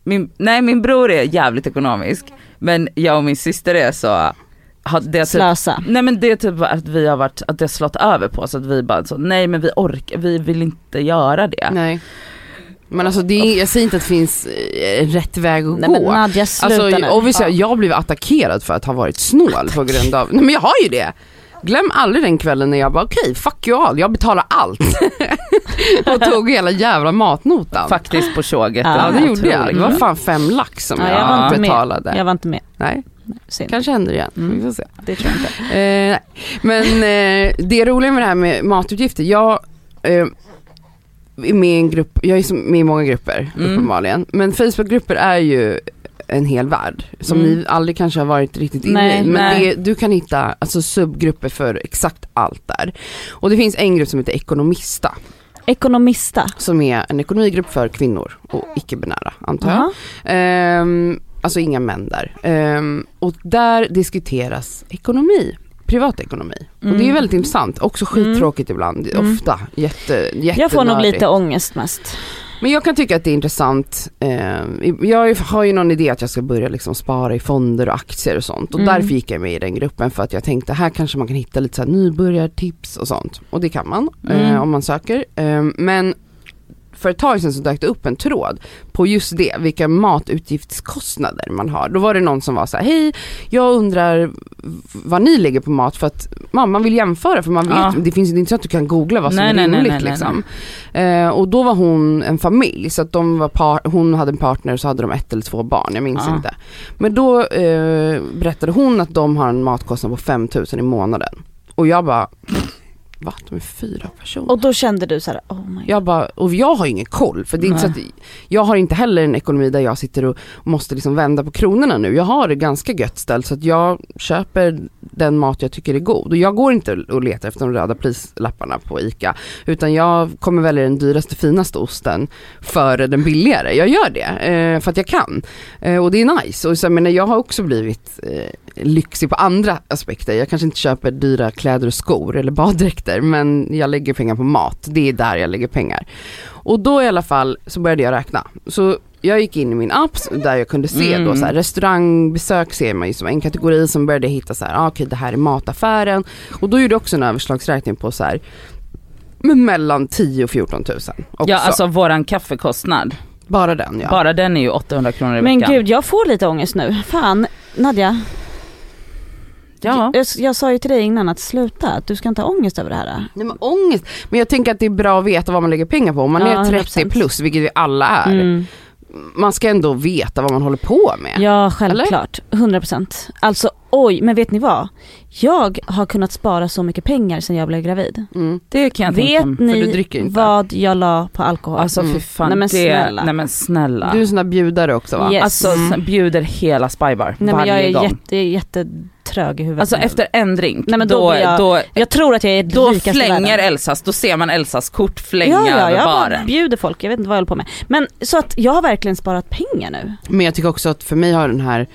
min, nej min bror är jävligt ekonomisk, men jag och min syster är så, har, det har typ Slösa. Nej men det är typ att vi har varit, att det har slått över på oss att vi bara så, nej men vi orkar, vi vill inte göra det. Nej. Men alltså det är, jag säger inte att det finns eh, rätt väg att Nej gå. men Nadja sluta alltså, nu. obviously, Ja. jag har blivit attackerad för att ha varit snål på grund av, nej men jag har ju det. Glöm aldrig den kvällen när jag bara okej, fuck you all, jag betalar allt. och tog hela jävla matnotan. Faktiskt på Mm. tåget. Ja, ja och det gjorde jag, otroligt. det var fan fem lax som Ja, jag, jag var inte med. betalade. Jag Mm. var inte med. Nej, Synd. kanske händer igen, vi får se. Det tror jag inte. Eh, men eh, det roliga med det här med matutgifter, jag eh, är med i en grupp, jag är som- med i många grupper Mm. uppenbarligen. Men Facebookgrupper är ju en hel värld som Mm. ni aldrig kanske har varit riktigt inne Nej, i. Men nej. Det, du kan hitta alltså, subgrupper för exakt allt där. Och det finns en grupp som heter Ekonomista Ekonomista. som är en ekonomigrupp för kvinnor och icke-binära antar jag. Jaha. Ehm, alltså inga män där. Ehm, och där diskuteras ekonomi, privatekonomi. Mm. Och det är väldigt intressant, också skittråkigt ibland, Mm. ofta. Jätte, jätte Jag får nog lite ångest mest. Men jag kan tycka att det är intressant. Ehm, jag har ju- har ju någon idé att jag ska börja liksom spara i fonder och aktier och sånt. Och Mm. därför gick jag med i den gruppen för att jag tänkte här kanske man kan hitta lite så här nybörjartips och sånt. Och det kan man eh, Mm. om man söker. Ehm, men för ett tag sedan så dök det upp en tråd på just det, vilka matutgiftskostnader man har. Då var det någon som var så här, hej jag undrar vad ni lägger på mat för att man, man vill jämföra för man vet, Ja. det finns det är inte så att du kan googla vad som Nej, är nej, nej, rimligt nej, nej, liksom. Eh, och då var hon en familj så att de var par, hon hade en partner och så hade de ett eller två barn, jag minns Ja. inte. Men då eh, berättade hon att de har en matkostnad på 5000 i månaden. Och jag bara, va? De är fyra personer. Och då kände du så här, oh my god. Jag bara, och jag har ingen koll för det är inte så att, jag har inte heller en ekonomi där jag sitter och måste liksom vända på kronorna nu. Jag har det ganska gött ställt så att jag köper den mat jag tycker är god och jag går inte och letar efter de röda prislapparna på ICA utan jag kommer välja den dyraste finaste osten före den billigare. Jag gör det eh, för att jag kan eh, och det är nice och så, jag menar, jag har också blivit eh, lyxig på andra aspekter. Jag kanske inte köper dyra kläder och skor eller baddräkter men jag lägger pengar på mat. Det är där jag lägger pengar. Och då i alla fall så började jag räkna. Så jag gick in i min app där jag kunde se Mm. då så här, restaurangbesök ser man ju som en kategori som började jag hitta så här, ah, okej det här är mataffären. Och då gjorde jag också en överslagsräkning på så här, men mellan 10 och 14 000 också. Ja alltså våran kaffekostnad, Bara den ja. bara den är ju 800 kronor i Men veckan. gud, jag får lite ångest nu. Fan, Nadja. ja. Jag, jag sa ju till dig innan att sluta, att du ska inte ha ångest över det här. Nej, men ångest. Men jag tänker att det är bra att veta vad man lägger pengar på. Om man Ja, är 30 100%. plus, vilket vi alla är, Mm. man ska ändå veta vad man håller på med. Ja, självklart. 100%. Alltså oj, men vet ni vad? Jag har kunnat spara så mycket pengar sedan jag blev gravid. Mm. det kan jag tänka Vet mig. du ni dricker inte. vad jag la på alkohol? Alltså Mm. fy fan, Nej, men det, snälla. nej men snälla. Du är en sån där bjudare också va? Yes. Alltså Mm. sen bjuder hela spybar Nej men varje jag är gång. jätte, jättetrög i huvudet. Alltså nu. efter en drink, Nej, men då då, blir jag- då, jag tror att jag är då rikast i flänger världen. Elsas, då ser man Elsas kort flänga Ja, ja, över jag bara baren. bjuder folk, jag vet inte vad jag håller Mm. på med. Men så att jag har verkligen sparat pengar nu. Men jag tycker också att för mig har den här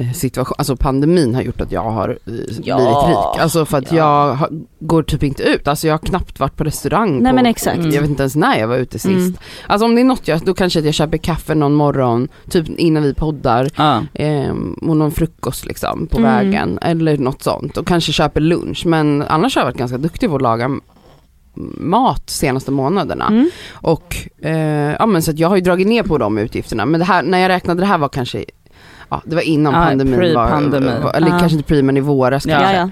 eh, situation, alltså pandemin har gjort att jag har eh, Ja. blivit rik. Alltså för att Ja. jag har, går typ inte ut, alltså jag har knappt varit på restaurang Nej på, men exakt. Mm. Jag vet inte ens när jag var ute sist. Mm. Alltså om det är något jag, då kanske att jag köper kaffe någon morgon, typ innan vi poddar, Ja. eh, och någon frukost liksom på Mm. vägen eller något sånt. Och kanske köper lunch, men annars har jag varit ganska duktig på att laga m- mat senaste månaderna. Mm. Och eh, ja men så att jag har ju dragit ner på de utgifterna, men det här, när jag räknade det här var kanske Ja, det var innan Ja, pandemin pre-pandemi. var, var, eller Ja. kanske inte pre men i våras Ja. Ja, kanske. ja.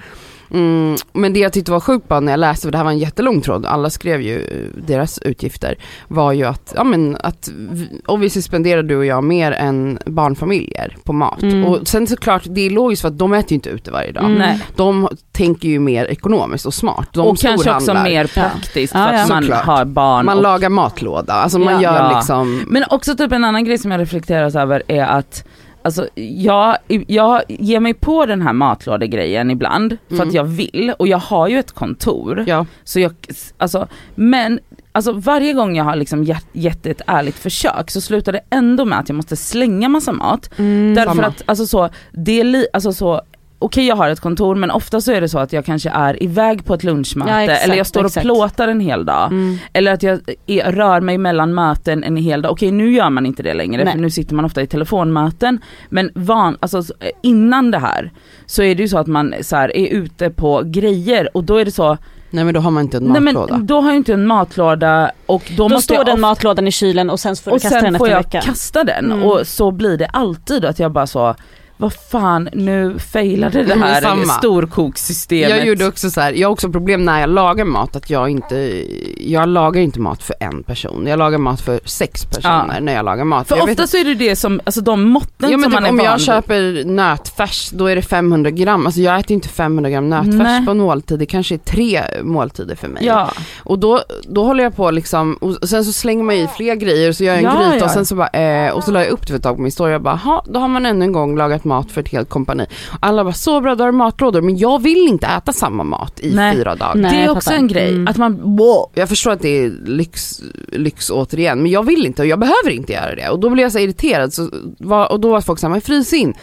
Mm, men det jag tyckte var sjukt bara när jag läste, för det här var en jättelång tråd, alla skrev ju eh, deras utgifter, var ju att, ja men att, vi- obviously spenderar du och jag mer än barnfamiljer på mat. Mm. Och sen såklart, det är logiskt för att de äter ju inte ute varje dag. Mm. Nej. De tänker ju mer ekonomiskt och smart. De och kanske också storhandlar. mer praktiskt Ja, för ja. att man Såklart. har barn. Man och, lagar matlåda, alltså man Ja. gör Ja. liksom men också typ en annan grej som jag reflekterar över är att Alltså jag, jag ger mig på den här matlådegrejen ibland för Mm. att jag vill och jag har ju ett kontor. Ja. Så jag, alltså, men alltså, varje gång jag har liksom gett- gett ett ärligt försök så slutar det ändå med att jag måste slänga massa mat Mm. Därför Samma. att, alltså så, det är li, alltså så, okej jag har ett kontor men ofta så är det så att jag kanske är iväg på ett lunchmöte Ja, exakt, eller jag står och exakt. plåtar en hel dag. Mm. Eller att jag är, rör mig mellan möten en hel dag. Okej nu gör man inte det längre Nej. för nu sitter man ofta i telefonmöten. Men van, alltså, så- innan det här så är det ju så att man så här, är ute på grejer och då är det så, Nej men då har man inte en nej matlåda. men då har jag ju inte en matlåda och då, Då måste står jag den ofta- matlådan i kylen och sen får du och kasta den sen får efter en jag vecka. kasta den Mm. och så blir det alltid att jag bara så vad fan nu failade det Mm, här samma. storkokssystemet. Jag gjorde också så här, jag har också problem när jag lagar mat att jag inte, jag lagar inte mat för en person, jag lagar mat för sex personer när jag lagar mat. För jag ofta så är det det som, alltså de måtten ja, som men typ, man är om van jag vid. köper nötfärs då är det 500 gram, alltså jag äter ju inte 500 gram nötfärs Nej. på en måltid, det kanske är tre måltider för mig. Ja, Och då, då håller jag på liksom, och sen så slänger man i fler grejer så gör jag en Ja, gryta ja. och sen så bara, eh, och så la jag upp det för ett tag på min story jag bara, "Ha, då har man ännu en gång lagat mat för ett helt kompani. Alla bara, så bra då har du matlådor men jag vill inte äta samma mat i Nej. fyra dagar. Nej, det är jag också fattar. en grej Mm. att man, wow. Jag förstår att det är lyx, lyx återigen, men jag vill inte och jag behöver inte göra det. Och då blev jag så irriterad så, var, och då var folk såhär, men frys in.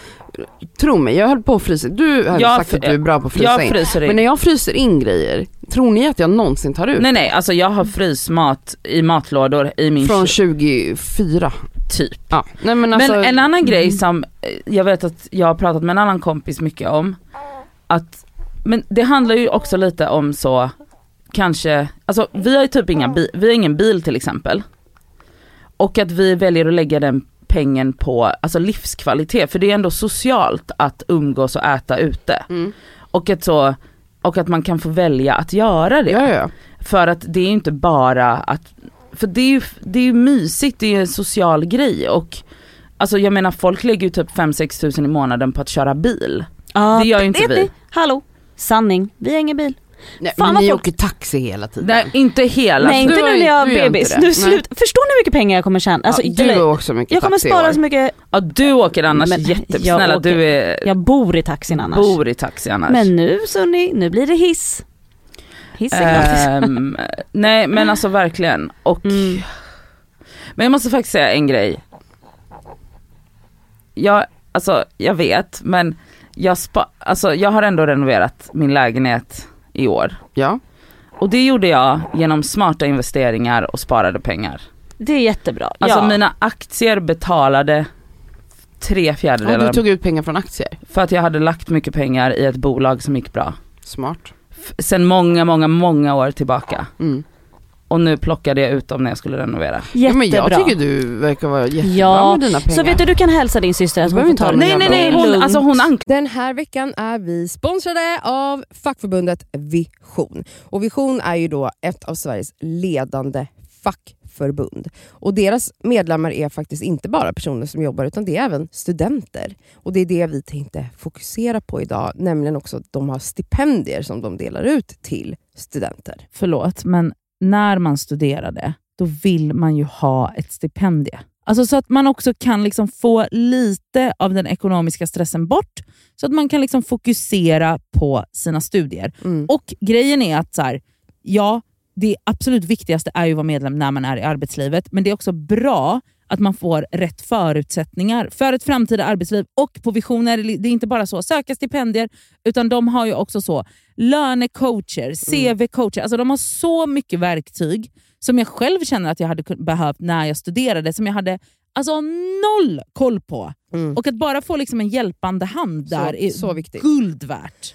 Tro mig, jag höll på att frysa in. Du har ju Jag sagt fr- att du är bra på att frysa jag in. fryser in. Men när jag fryser in grejer, tror ni att jag någonsin tar ut Nej nej, alltså jag har frysmat i matlådor i min från kyl- 24? typ. Ja. Nej, men alltså, Men en annan grej som eh, jag vet att jag har pratat med en annan kompis mycket om, att, men det handlar ju också lite om så, kanske, alltså vi har ju typ inga bi- vi har ingen bil till exempel. Och att vi väljer att lägga den pengen på, alltså livskvalitet, för det är ändå socialt att umgås och äta ute. Mm. Och att så, och att man kan få välja att göra det. Ja, ja. För att det är ju inte bara att, för det är ju, det är ju mysigt, det är ju en social grej och Alltså jag menar folk lägger ju typ 5-6 tusen i månaden på att köra bil. Ja, det gör ju inte vet vi. ni? Hallå, sanning. Vi har ingen bil. Nej, Fan, men vad ni folk- åker taxi hela tiden. Nej inte hela. Nej inte du har nu ju- när jag har du gör inte bebis. det. Nu Nej. slut. Förstår ni hur mycket pengar jag kommer tjäna? Alltså, ja, du eller, har också mycket jag kommer taxi i år. spara så mycket, Ja, du åker annars Men jättemycket. jag Snälla åker- du är, jag bor i taxin annars. bor i taxi annars. Men nu Sunny, nu blir det hiss. Hiss är Eh. gratis. Ehm, nej men alltså verkligen. Och, Mm. Men jag måste faktiskt säga en grej. Jag, alltså, jag vet men jag, spa, alltså, jag har ändå renoverat min lägenhet i år. Ja. Och det gjorde jag genom smarta investeringar och sparade pengar. Det är jättebra. Alltså ja. mina aktier betalade tre Ja, fjärdedelar du tog ut pengar från aktier. för att jag hade lagt mycket pengar i ett bolag som gick bra. Smart. F- sen många, många, många år tillbaka. Mm. Och nu plockade jag ut dem när jag skulle renovera. Jättebra. Ja, men jag tycker du verkar vara jättebra Ja, med dina pengar. Så vet du, du kan hälsa din syster att Du hon behöver får inte ta ha den. någon jävla- Det är hon, alltså hon ankar Den här veckan är vi sponsrade av fackförbundet Vision. Och Vision är ju då ett av Sveriges ledande fackförbund. Och deras medlemmar är faktiskt inte bara personer som jobbar utan det är även studenter. Och Det är det vi tänkte fokusera på idag, nämligen också att de har stipendier som de delar ut till studenter. förlåt, men när man studerade, då vill man ju ha ett stipendie. Alltså så att man också kan liksom få lite av den ekonomiska stressen bort, så att man kan liksom fokusera på sina studier. Mm. Och grejen är att så här, ja, det absolut viktigaste är ju att vara medlem när man är i arbetslivet, men det är också bra att att man får rätt förutsättningar för ett framtida arbetsliv och på visioner. Det är inte bara så söka stipendier, utan de har ju också så Mm. lönecoacher, CV-coacher. Alltså de har så mycket verktyg som jag själv känner att jag hade kun- behövt när jag studerade, som jag hade alltså, noll koll på. Mm. Och att bara få liksom en hjälpande hand där så, är så viktigt. guld värt.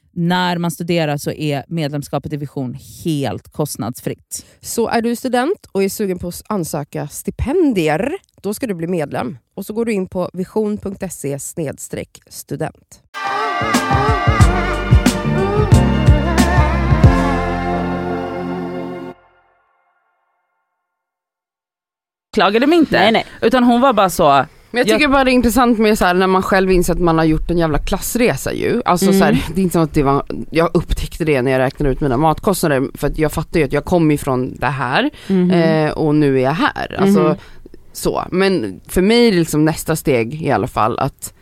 när man studerar så är medlemskapet i Vision helt kostnadsfritt. Så är du student och är sugen på att ansöka stipendier, då ska du bli medlem. Och så går du in på vision.se snedstreck student. klagade mig inte. Nej, nej. Utan hon var bara så, Men jag Jag- tycker bara det är intressant med så här, när man själv inser att man har gjort en jävla klassresa ju. Alltså så här, det är inte som att det var, jag upptäckte det när jag räknade ut mina matkostnader för att jag fattar ju att jag kom ifrån det här Mm-hmm. Mm. eh, och nu är jag här. Alltså, Mhm. så. Men för mig är det liksom nästa steg i alla fall att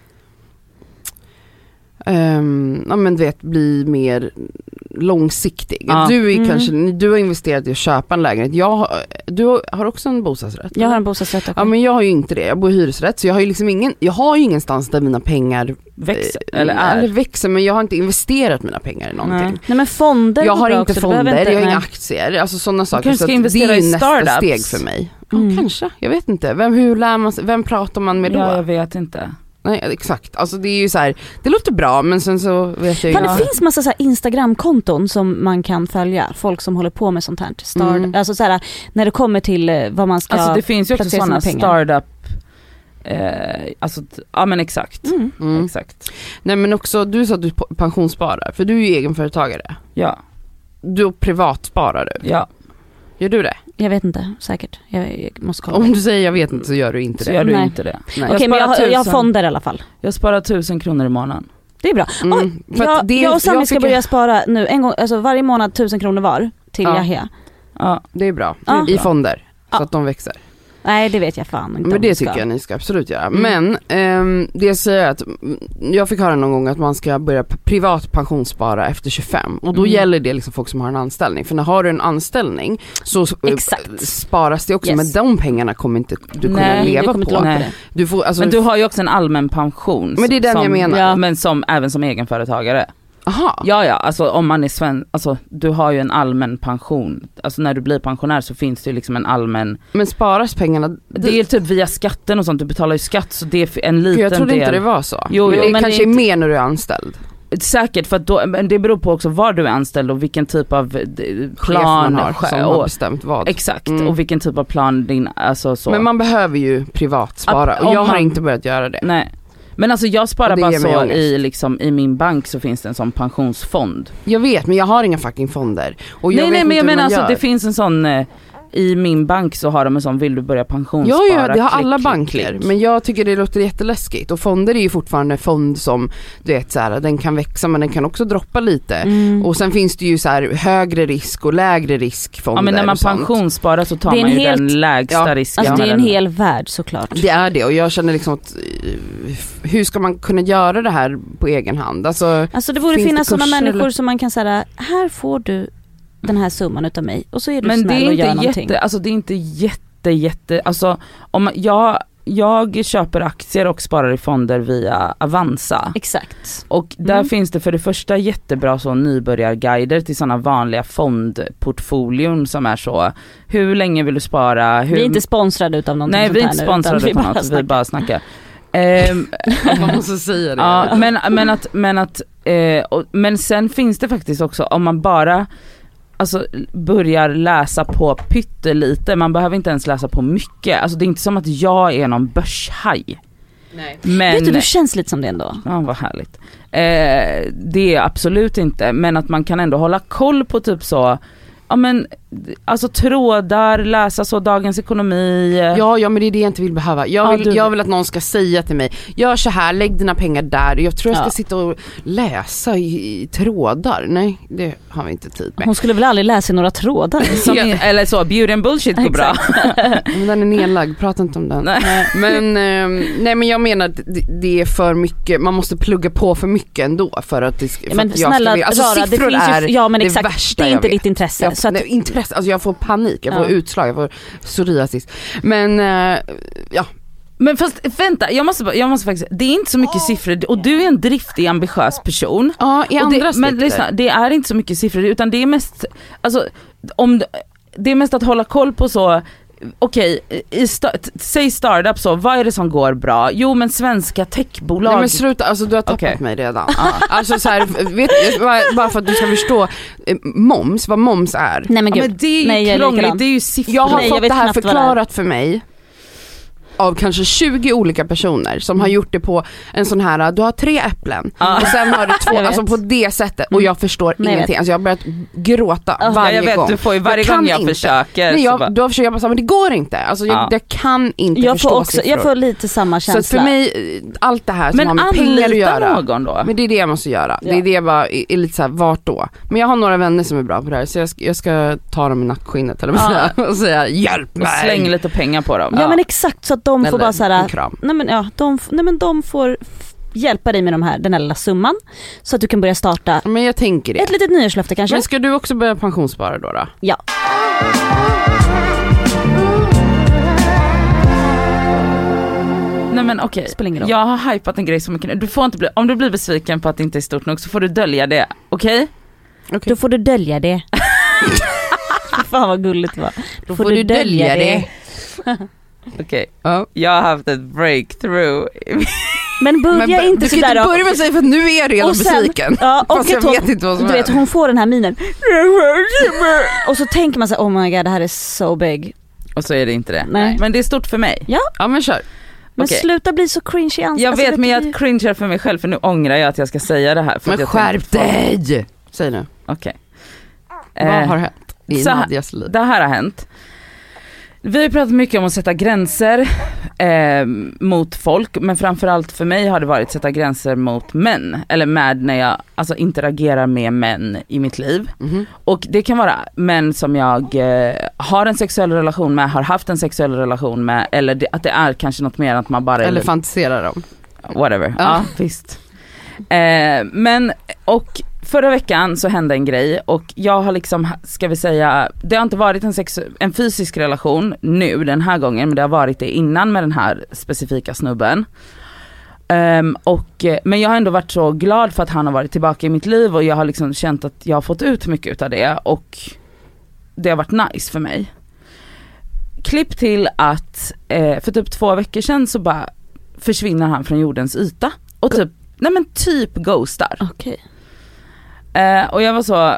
ehm, ja men du vet bli mer långsiktig. Ja. Du, är Mm. kanske, du har investerat i att köpa en lägenhet. Jag har, du har- har också en bostadsrätt? Jag har en bostadsrätt också. Ja men jag har ju inte det, jag bor i hyresrätt så jag har ju liksom ingen, jag har ju ingenstans där mina pengar växer, eh, eller är. växer men jag har inte investerat mina pengar i någonting. Mm. Nej men fonder Jag går har bra inte också, du fonder, behöver inte, jag har inga nej. aktier, alltså sådana saker. kanske så ska att investera det är ju i nästa startups. steg för mig. Mm. Ja kanske, jag vet inte. Vem, hur lär man sig, vem pratar man med då? Ja, jag vet inte. Nej exakt, alltså det är ju så här, det låter bra men sen så vet jag ju Fan, inte. det finns massa så här Instagram-konton som man kan följa, folk som håller på med sånt här. Start, Mm. Alltså så här, när det kommer till eh, vad man ska... Alltså det finns ju också placera sådana sina pengar. startup, eh, alltså t- ja men exakt. mm. Mm. Exakt. Nej men också, du sa att du p- pensionssparar, för du är ju egenföretagare. Ja, Du privatsparar du, ja. gör du det? Jag vet inte, säkert. Jag, jag måste kolla. Om du säger jag vet inte så gör du inte Så det. gör du Nej. inte det. Nej. Okej men jag, sparar har- jag har tusen. fonder i alla fall. Jag sparar tusen kronor i månaden. Det är bra. Oj, Mm, för att jag, det- jag och Sami ska tycker- börja spara nu, en gång, alltså varje månad tusen kronor var till Ja. Yahya. Ja. Det är bra. Ja. I fonder. Ja. Så att de växer. Nej det vet jag fan inte Men om vi det ska. tycker jag ni ska absolut göra. Mm. Men ehm, det jag säger är att mm, jag fick höra någon gång att man ska börja p- privat pensionsspara efter 25 och då Mm. gäller det liksom folk som har en anställning. För när har du en anställning så s- eh, Exakt. sparas det också Yes. men de pengarna kommer inte du kunna Nej, jag leva kommer inte på. långt på Nej. det. Du får, alltså, Men du har ju också en allmän pension. Men det är den som, jag menar. Ja. Men som, även som egenföretagare. aha. Ja ja, alltså om man är svensk, alltså du har ju en allmän pension. Alltså när du blir pensionär så finns det ju liksom en allmän Men sparas pengarna? Det är typ via skatten och sånt, du betalar ju skatt så det är f- en För liten jag trodde del. inte det var så. Jo, jo, det men kanske det är är mer när du är anställd. Säkert för att då, men det beror på också var du är anställd och vilken typ av eh, d- Chef plan. man har chef- som och, har bestämt vad. exakt, Mm. och vilken typ av plan din, alltså så. Men man behöver ju privatspara Att- och om jag har man- inte börjat göra det. Nej. Men alltså jag sparar Och det bara ger mig så ångest. i, liksom, i min bank så finns det en sån pensionsfond. Jag vet men jag har inga fucking fonder. Och jag nej vet nej men inte jag hur menar man alltså gör. det finns en sån, eh, i min bank så har de en sån vill du börja pensionsspara? Ja, ja, det har Klick, alla klick, banker. klick. Men jag tycker det låter jätteläskigt. Och fonder är ju fortfarande fond som, du vet så här, den kan växa men den kan också droppa lite. Mm. Och sen finns det ju så här högre risk och lägre riskfonder Ja men när man och sånt. pensionssparar så tar Det är man en ju helt- den lägsta Ja. risken. Alltså det är en mellan- hel värld såklart. Det är det och jag känner liksom att eh, hur ska man kunna göra det här på egen hand? Alltså, Alltså det borde Finns det finnas sådana kurser eller? människor som man kan säga här får du den här summan utav mig och så är du Men det snäll är och gör inte någonting. jätte, alltså det är inte jätte, jätte, alltså om man- jag, jag köper aktier och sparar i fonder via Avanza. Exakt. Och där Mm. finns det för det första jättebra så nybörjarguider till sådana vanliga fondportfolion som är så, hur länge vill du spara? Hur, Vi är inte sponsrade utav någonting Nej sånt vi är här inte nu, utan sponsrade vi på bara något, vi snackar. bara snackar. Ehm, man måste säga det. Ja, men, men att, men, att eh, och, men sen finns det faktiskt också om man bara Alltså börjar läsa på pyttelite, man behöver inte ens läsa på mycket. Alltså det är inte som att jag är någon börshaj. Nej. Men, Vet du, du känns lite som det ändå. ja vad härligt. Eh, det är jag absolut inte, men att man kan ändå hålla koll på typ så ja, men, alltså trådar, läsa så Dagens Ekonomi. Ja, ja men det är det jag inte vill behöva. Jag Ja, vill, du- jag vill att någon ska säga till mig, gör så här, lägg dina pengar där. Jag tror jag ska Ja. sitta och läsa i, i trådar. Nej, det har vi inte tid med. Hon skulle väl aldrig läsa i några trådar? Som, Eller så, beauty and bullshit går bra. Men den är nedlagd, prata inte om den. Nej. Men, ehm, nej men jag menar att det, det är för mycket, man måste plugga på för mycket ändå för att, det, sk- för Ja, men att jag snälla ska vilja. Alltså Rara, det siffror finns ju, är ja, men det exakt, värsta det är jag inte vet. ditt intresse. Jag, så att, nej, intresse, alltså jag får panik, jag får Ja. utslag, jag får psoriasis. Men eh, ja, Men fast vänta, jag måste, bara- jag måste faktiskt, det är inte så mycket siffror och du är en driftig ambitiös person. ja i Och det, andra men aspekter. lyssna, det är inte så mycket siffror utan det är mest, alltså, om, det är mest att hålla koll på så, okej, i sta- t- säg startup så, vad är det som går bra? Jo men svenska techbolag. Nej men sluta, alltså du har tappat Okej. mig redan. Alltså så här, vet, bara- bara för att du ska förstå, eh, moms, vad moms är. nej men ja, gud. men det är ju nej, jag är krångligt, likadan. det är ju siffror. Jag har Nej, jag fått vet det här knappt vad det är. förklarat för mig av kanske 20 olika personer som har gjort det på en sån här, du har tre äpplen Ja. och sen har du två, Jag vet. Mm. alltså på det sättet och jag förstår Nej, jag ingenting. Alltså jag har börjat gråta Ja, jag Ja, varje jag vet, gång. du får ju varje Jag kan gång jag inte. försöker. Nej, så jag, alltså, bara, då försöker jag bara säga, men det går inte. Alltså jag, Ja. jag kan inte jag förstå får, också, siffror. jag får lite samma så att för känsla. mig, eh, allt det här som har men med pengar att göra. anlita någon då. Men det är det jag måste göra. Ja. Det är det jag bara är är lite såhär, vart då? Men jag har några vänner som är bra på det här så jag ska, jag ska ta dem i nackskinnet eller vad Ja. ja. och säga hjälp mig. och släng lite pengar på dem. ja men exakt så att de Eller får bara en såhär, kram. nej men ja, de, f- nej, men de får f- hjälpa dig med de här, den här lilla summan. Så att du kan börja starta Men jag tänker det. ett litet nyårslöfte kanske. Men ska du också börja pensionsspara då? då? Ja. Nej men okej, Spelar ingen roll. jag har hypat en grej så mycket nu. Du får inte bli, om du blir besviken på att det inte är stort nog så får du dölja det, okej? Då får du dölja det. Fan vad gulligt det var. Då får du dölja det. Okej, Ja. jag har haft ett breakthrough. Men börja Men inte du kan sådär inte då. börja med att säga för nu är jag redan Och sen- besviken. Ja, och Fast jag att hon, vet inte vad som du vet händer. hon får den här minen. Och så tänker man så här, oh my god det här är so big. Och så är det inte det. Nej. Men det är stort för mig. Ja men kör. Men Okej. sluta bli så cringe i ansiktet. Jag Alltså, vet det men blir- jag cringear för mig själv för nu ångrar jag att jag ska säga det här. För att Men jag skärp tänkte på- dig! Säg nu, Okej. vad Eh, har hänt i så här- Nadjas liv? Det här har hänt. Vi har ju pratat mycket om att sätta gränser eh, mot folk men framförallt för mig har det varit sätta gränser mot män. Eller med när jag alltså, interagerar med män i mitt liv. Mhm. Och det kan vara män som jag eh, har en sexuell relation med, har haft en sexuell relation med eller det, att det är kanske något mer än att man bara är Eller lite- fantisera dem. whatever. Ja. Ja, visst. Eh, men, och förra veckan så hände en grej och jag har liksom, ska vi säga, det har inte varit en, sex, en fysisk relation nu den här gången men det har varit det innan med den här specifika snubben. Ehm, och, eh, men jag har ändå varit så glad för att han har varit tillbaka i mitt liv och jag har liksom känt att jag har fått ut mycket utav det och det har varit nice för mig. Klipp till att eh, för typ två veckor sedan så bara försvinner han från jordens yta och typ, nej men typ ghostar. Okej. Eh, och jag var så,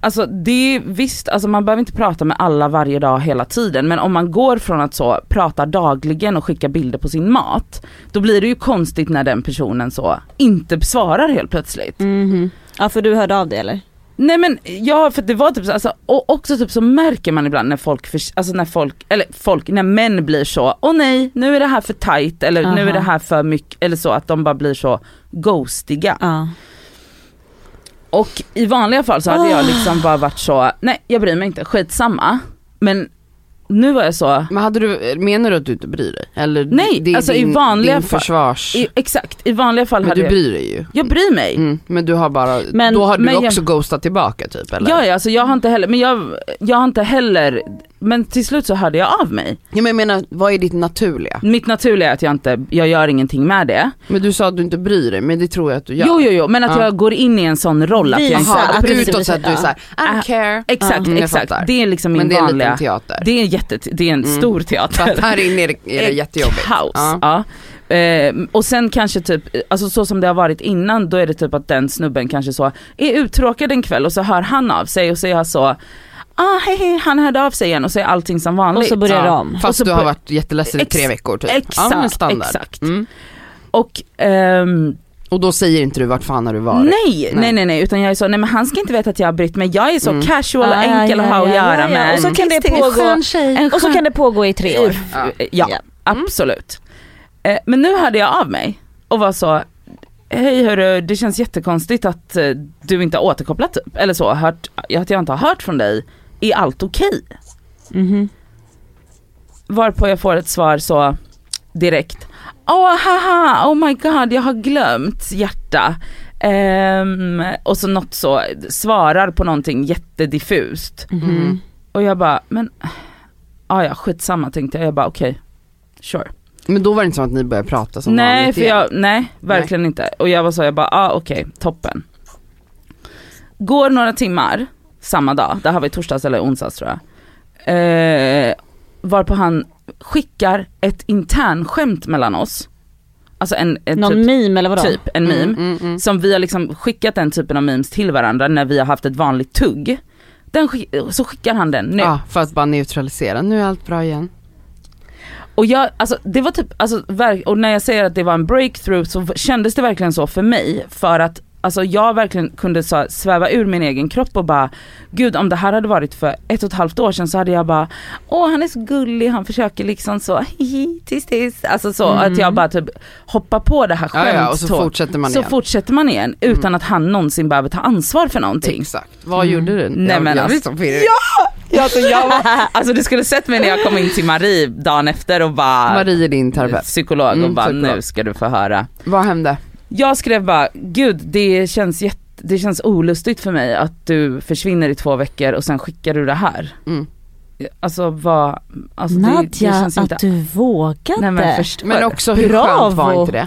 alltså det är visst, alltså man behöver inte prata med alla varje dag hela tiden men om man går från att så prata dagligen och skicka bilder på sin mat, då blir det ju konstigt när den personen så inte svarar helt plötsligt. Mhm. Ja för du hörde av det eller? Nej men ja för det var typ så, alltså, och också typ så märker man ibland när folk, för, alltså när folk, eller folk, när män blir så, åh nej nu är det här för tight eller nu är Aha. det här för mycket, eller så att de bara blir så ghostiga. Ja. Och i vanliga fall så hade Ah. jag liksom bara varit så, nej jag bryr mig inte, skitsamma. Men nu var jag så, Men hade du, menar du att du inte bryr dig? Eller Nej, det är alltså i din, vanliga din fall- försvars... i, exakt, i vanliga fall men hade du jag, bryr dig ju. jag bryr mig. Mm, men du har bara, Men- då har du men jag- också ghostat tillbaka typ eller? Ja, ja, alltså jag har inte heller, men jag, jag har inte heller, men till slut så hörde jag av mig. Ja, men jag menar, vad är ditt naturliga? Mitt naturliga är att jag inte, jag gör ingenting med det. Men du sa att du inte bryr dig, men det tror jag att du gör. Jo jo jo men att Ja. jag går in i en sån roll att Vi jag har- inte, Jaha, att att du inte utåt så att du bryr är dig. såhär, I don't Ah, care. exakt Mm, jag exakt, fattar. det är liksom min Men det är en vanliga, liten teater. det är en jätte, det är en Mm. stor För att teater. här inne är det, är det jättejobbigt. Kaos. Ja. Ja. Eh, och sen kanske typ, alltså så som det har varit innan då är det typ att den snubben kanske så är uttråkad en kväll och så hör han av sig och så är jag så, ah hej hej han hörde av sig igen och så är allting som vanligt. Och så börjar det om. Och Fast så du har bör- varit jätteledsen i Ex- tre veckor typ. Exakt, ja, men standard. exakt. Mm. Och ehm, Och då säger inte du vart fan har du varit? Nej, Nej. nej nej nej utan jag är så, nej men han ska inte veta att jag har brytt mig. Jag är så Mm. casual och Ah, enkel ja, att ha att ja, göra ja, ja. med. Och så kan det En pågå, skön tjej, en Och så skön- kan det pågå i tre år. Ja, Ja. Mm. absolut. Eh, Men nu hörde jag av mig och var så, hej hörru det känns jättekonstigt att eh, du inte har återkopplat typ. Eller så, hört, att jag inte har hört från dig. Är allt okej? Mm-hmm. Varpå jag får ett svar så direkt. Åh haha, oh my god jag har glömt hjärta. Ehm, och så något så, svarar på någonting jättediffust. Mm-hmm. Mm. Och jag bara, men ah, ja skitsamma tänkte jag. Jag bara okej, sure. Men då var det inte så att ni började prata som nej, vanligt för igen. jag, nej verkligen inte. Och jag var så, jag bara ah, okej, toppen. Går några timmar, samma dag, det här var i torsdags eller onsdags tror jag. Eh, varpå han skickar ett internskämt mellan oss. Alltså en, en Någon typ, meme eller vadå? typ, en meme. Mm, mm, mm. Som vi har liksom skickat den typen av memes till varandra när vi har haft ett vanligt tugg. Den skick, så skickar han den nu. Ja, för att bara neutralisera, nu är allt bra igen. Och jag, alltså det var typ, alltså, verk- och när jag säger att det var en breakthrough så f- kändes det verkligen så för mig. För att alltså, jag verkligen kunde så, här sväva ur min egen kropp och bara, gud om det här hade varit för ett och ett halvt år sedan så hade jag bara, åh han är så gullig, han försöker liksom så, hihi, tis tis. Alltså så att jag bara typ hoppar på det här Mm. Ja, skämtet. ja, och så fortsätter man igen. Mm. fortsätter man igen utan att han någonsin behöver ta ansvar för någonting. Exakt. Vad gjorde du? Nej, men jag liksom blir alltså- så pirrig. Ja, alltså, jag var, alltså du skulle sett mig när jag kom in till Marie dagen efter och bara Marie är din terapeut. psykolog och Mm, bara psykolog. nu ska du få höra. Vad hände? Jag skrev bara, gud det känns, jätte, det känns olustigt för mig att du försvinner i två veckor och sen skickar du det här. Mm. Alltså vad, alltså, det, det Nadja, känns inte... att du vågade. Nej men förstår. Men också hur Bravo. skönt var inte det?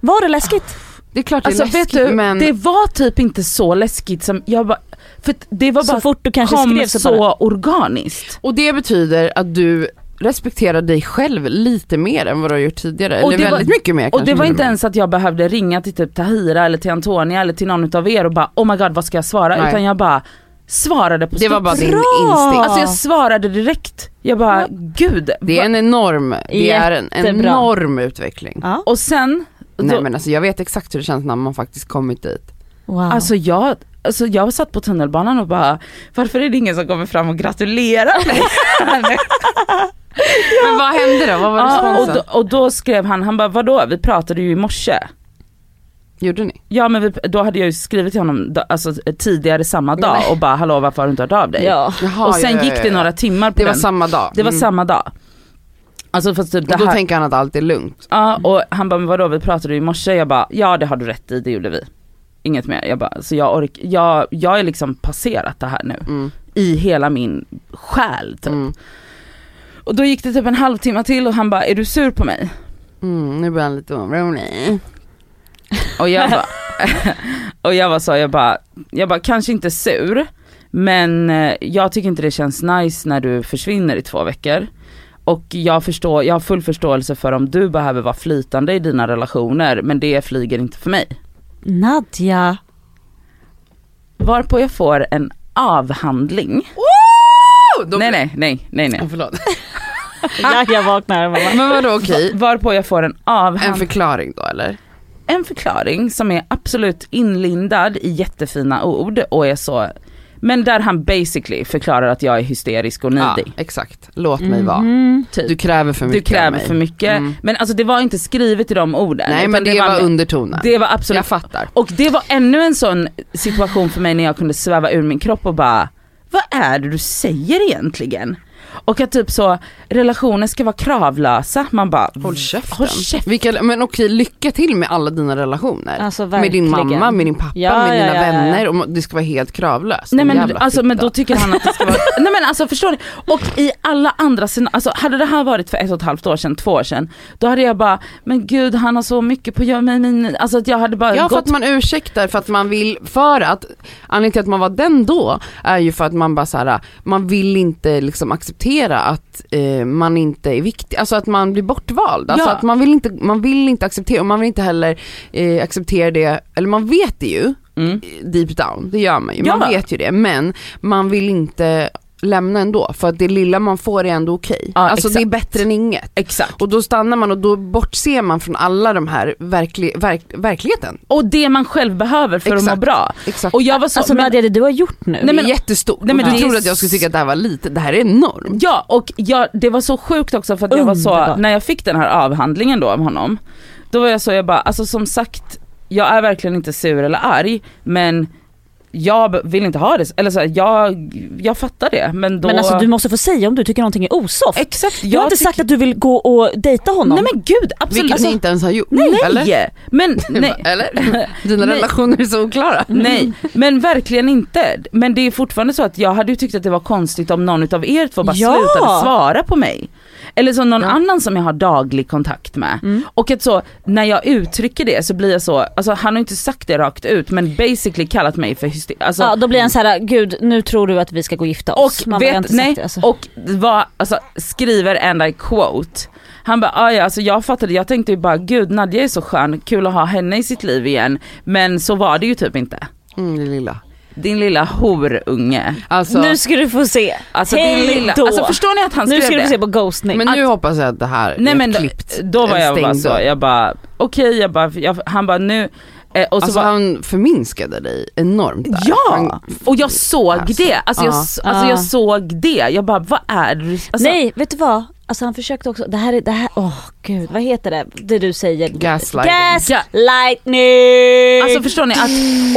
Var det läskigt? Det är klart det Alltså är läskigt vet du, men det var typ inte så läskigt som, jag bara, för att det var Så bara, fort du kanske skrev kom så, så bara, organiskt. Och det betyder att du respekterar dig själv lite mer än vad du har gjort tidigare. Och Eller det var- väldigt mycket mer Och det kanske var till inte med. ens att jag behövde ringa till typ Tahira eller till Antonia eller till någon utav er och bara oh my god vad ska jag svara? Nej. Utan jag bara svarade på Det var studs. bara din Bra! instinkt. Alltså jag svarade direkt. Jag bara gud. Det är va- en enorm, det är en Jättebra. enorm utveckling. ja. Och sen, Nej då, men alltså jag vet exakt hur det känns när man faktiskt kommit dit. wow. alltså jag, alltså jag satt på tunnelbanan och bara varför är det ingen som kommer fram och gratulerar mig? Men vad hände då? Vad var ja, och, responsen? då, och då skrev han, han bara vadå vi pratade ju i morse. Gjorde ni? Ja men vi, då hade jag ju skrivit till honom da- alltså, tidigare samma dag och bara hallå varför har du inte hört av dig? ja. Jaha, och sen ja, ja, gick ja, det ja. några timmar på Det var den. samma dag. det var Mm. samma dag. Alltså fast typ det Och då här, tänker han att allt är lugnt. ja, och han bara men vadå vi pratade ju i morse, jag bara ja det har du rätt i det gjorde vi. Inget mer, jag bara så jag ork, jag, jag är liksom passerat det här nu. Mm. i hela min själ typ. Mm. Och då gick det typ en halvtimme till och han bara, är du sur på mig? Mm, nu blir han lite orolig. Och jag bara, och jag bara så, jag bara, jag bara kanske inte sur, men eh, jag tycker inte det känns nice när du försvinner i två veckor. Och jag, förstår, jag har full förståelse för om du behöver vara flytande i dina relationer, men det flyger inte för mig. Nadja. Varpå jag får en avhandling. Nej nej, nej, nej, nej. Ja, förlåt. Ja, jag vaknar. och bara, Men vadå okej, Varpå jag får en en avhandling. förklaring då eller? en förklaring som är absolut inlindad i jättefina ord och är så, men där han basically förklarar att jag är hysterisk och Ja, needy. exakt, låt mig vara. Mhm. typ. Du Du, kräver för mycket av kräver mig. för mycket. Mm. Men alltså det var inte skrivet i de orden. Nej utan men det, var, undertonen. det var absolut, Jag fattar. och det var ännu en sån situation för mig när jag kunde sväva ur min kropp och bara, vad är det du säger egentligen? Och att typ så, relationer ska vara kravlösa, man bara, Håll käften. Mm. Håll käften. Vilka, men okej, lycka till med alla dina relationer. Alltså, med din verkligen. mamma, med din pappa, Ja, med ja, dina ja, ja, ja. vänner. Och det ska vara helt kravlöst. Nej Din men, jävla alltså, men fitta. då tycker han att det ska vara, nej men alltså förstår ni? Och i alla andra sina, alltså hade det här varit för ett och ett halvt år sedan, två år sedan, då hade jag bara, men gud han har så mycket på jag, men, men, alltså att jag hade bara Ja för gått att man ursäktar för att man vill, för att, anledningen till att man var den då är ju för att man bara såhär, man vill inte liksom acceptera att eh, man inte är viktig, alltså att man blir bortvald. Alltså Ja. att man vill, inte, man vill inte acceptera, och man vill inte heller eh, acceptera det, eller man vet det ju Mm. eh, deep down, det gör man ju, man Ja. vet ju det men man vill inte lämna ändå. För att det lilla man får är ändå okej. Ja, alltså det är exakt. bättre än inget. Exakt. Och då stannar man och då bortser man från alla de här verkli- verk- verkligheten. Och det man själv behöver för att Exakt. må bra. Exakt. Och jag var så, Alltså men- Nadia det du har gjort nu. Nej, Nej, men, men- det är jättestort. Nej, men du det är trodde att jag skulle tycka att det här var litet, det här är enormt. Ja och jag, det var så sjukt också för att jag var så, Underbart. när jag fick den här avhandlingen då av honom, då var jag så, jag bara, alltså som sagt, jag är verkligen inte sur eller arg men jag b- vill inte ha det, eller så här, jag, jag fattar det men då... Men alltså du måste få säga om du tycker någonting är osoft. Exakt, jag har inte sagt att du vill gå och dejta honom. Nej men gud absolut. alltså, Vilket ni inte ens har gjort. nej, Eller? Men, nej, eller? Dina Nej. relationer är så oklara. Mm. nej, men verkligen inte. Men det är fortfarande så att jag hade ju tyckt att det var konstigt om någon utav er två bara Ja. slutade svara på mig. Eller som någon annan som jag har daglig kontakt med. Mm. Och att så, när jag uttrycker det så blir jag så, alltså han har ju inte sagt det rakt ut men basically kallat mig för hysterisk. Alltså, Ja då blir han så här: gud nu tror du att vi ska gå och gifta oss. Man och, bara, jag har vet, inte sagt nej, det, alltså. och vad, alltså, skriver and I quote. Han bara, "Ah, ja alltså jag fattade, jag tänkte ju bara gud Nadja är så skön, kul att ha henne i sitt liv igen. Men så var det ju typ inte. Mm, det lilla. Din lilla horunge. Alltså, Nu ska du få se. Alltså Hej din lilla, då. alltså förstår ni att han nu skrev ska du det? få se på ghostning. Ah, men nu hoppas jag att det här Nej är men klippt. då var en jag bara stängd så, dörr. jag bara okej, jag bara, jag, han bara nu, eh, och så Alltså bara, han förminskade dig enormt där. Ja! Han, Och jag såg Alltså, det, alltså, jag, ja. Ah. s- alltså Ja. jag såg det. Jag bara vad är det? Alltså, Nej vet du vad? Alltså han försökte också, det här är, det här, åh gud vad heter det? Det du säger? gaslighting. Gaslightning! Alltså förstår ni? Mm.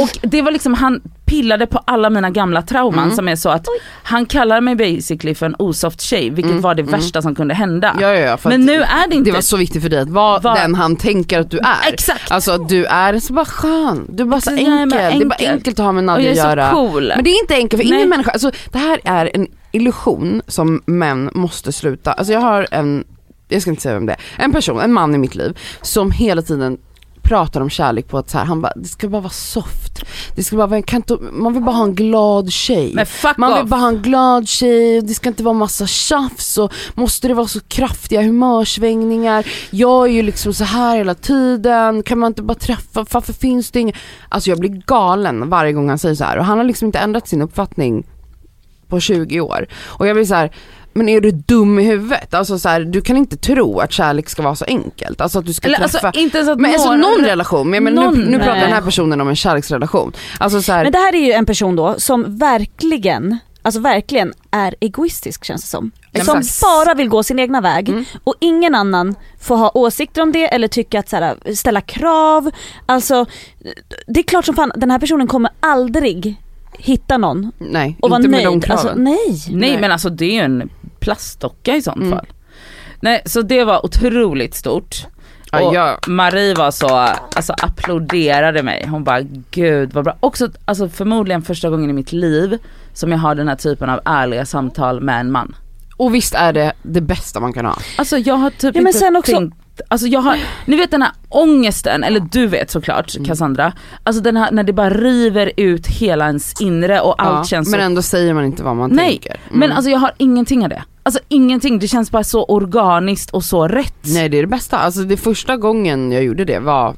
Att, och det var liksom, han pillade på alla mina gamla trauman Mm. som är så att han kallar mig basically för en osoft tjej vilket var det värsta som kunde hända. Mm, Ja, ja, ja, för Men att nu är det inte Det var så viktigt för dig att vara Var- den han tänker att du är. Exakt. Alltså att du är så bara skön, du är bara så Exakt, jag är bara enkel. Det är bara enkel. enkelt att ha med och Nadja jag att är göra. så cool. Men det är inte enkelt för Nej. ingen människa, alltså, det här är en illusion som män måste sluta. Alltså jag har en, jag ska inte säga vem det är, en person, en man i mitt liv som hela tiden pratar om kärlek på att så här, han bara, det ska bara vara soft. Det ska bara vara, kan inte, man vill bara ha en glad tjej. Men fuck Man vill off. bara ha en glad tjej, det ska inte vara massa tjafs och måste det vara så kraftiga humörsvängningar. Jag är ju liksom så här hela tiden, kan man inte bara träffa, varför finns det inget? Alltså jag blir galen varje gång han säger så här och han har liksom inte ändrat sin uppfattning på 20 år. Och jag blir så här men är du dum i huvudet? Alltså så här, du kan inte tro att kärlek ska vara så enkelt. Alltså att du ska Eller, träffa... alltså, inte ens att men alltså några- någon relation, men, men Någon- nu, nu pratar Nej. den här personen om en kärleksrelation. Alltså så här, Men det här är ju en person då som verkligen, alltså verkligen är egoistisk känns det som. men Mm. Som exakt. bara vill gå sin egna väg och ingen annan får ha åsikter om det eller tycka att så här, ställa krav. Alltså det är klart som fan den här personen kommer aldrig hitta någon nej, och vara inte med nöjd. de kraven. alltså, nej. Nej, Nej. men alltså det är ju en plastdocka i sånt Mm. fall. Nej så det var otroligt stort. Ja, Och ja. Marie var så, alltså applåderade mig. Hon bara gud vad bra. Också alltså, förmodligen första gången i mitt liv som jag har den här typen av ärliga samtal med en man. Och visst är det det bästa man kan ha. Alltså jag har typ Ja, men inte sen också- tänkt, alltså jag har, ni vet den här ångesten, eller du vet såklart Mm. Cassandra, alltså den här när det bara river ut hela ens inre och allt Ja, känns men så ändå säger man inte vad man Nej, tänker. Mm. Men alltså jag har ingenting av det. Alltså ingenting, det känns bara så organiskt och så rätt. Nej det är det bästa, alltså det första gången jag gjorde det var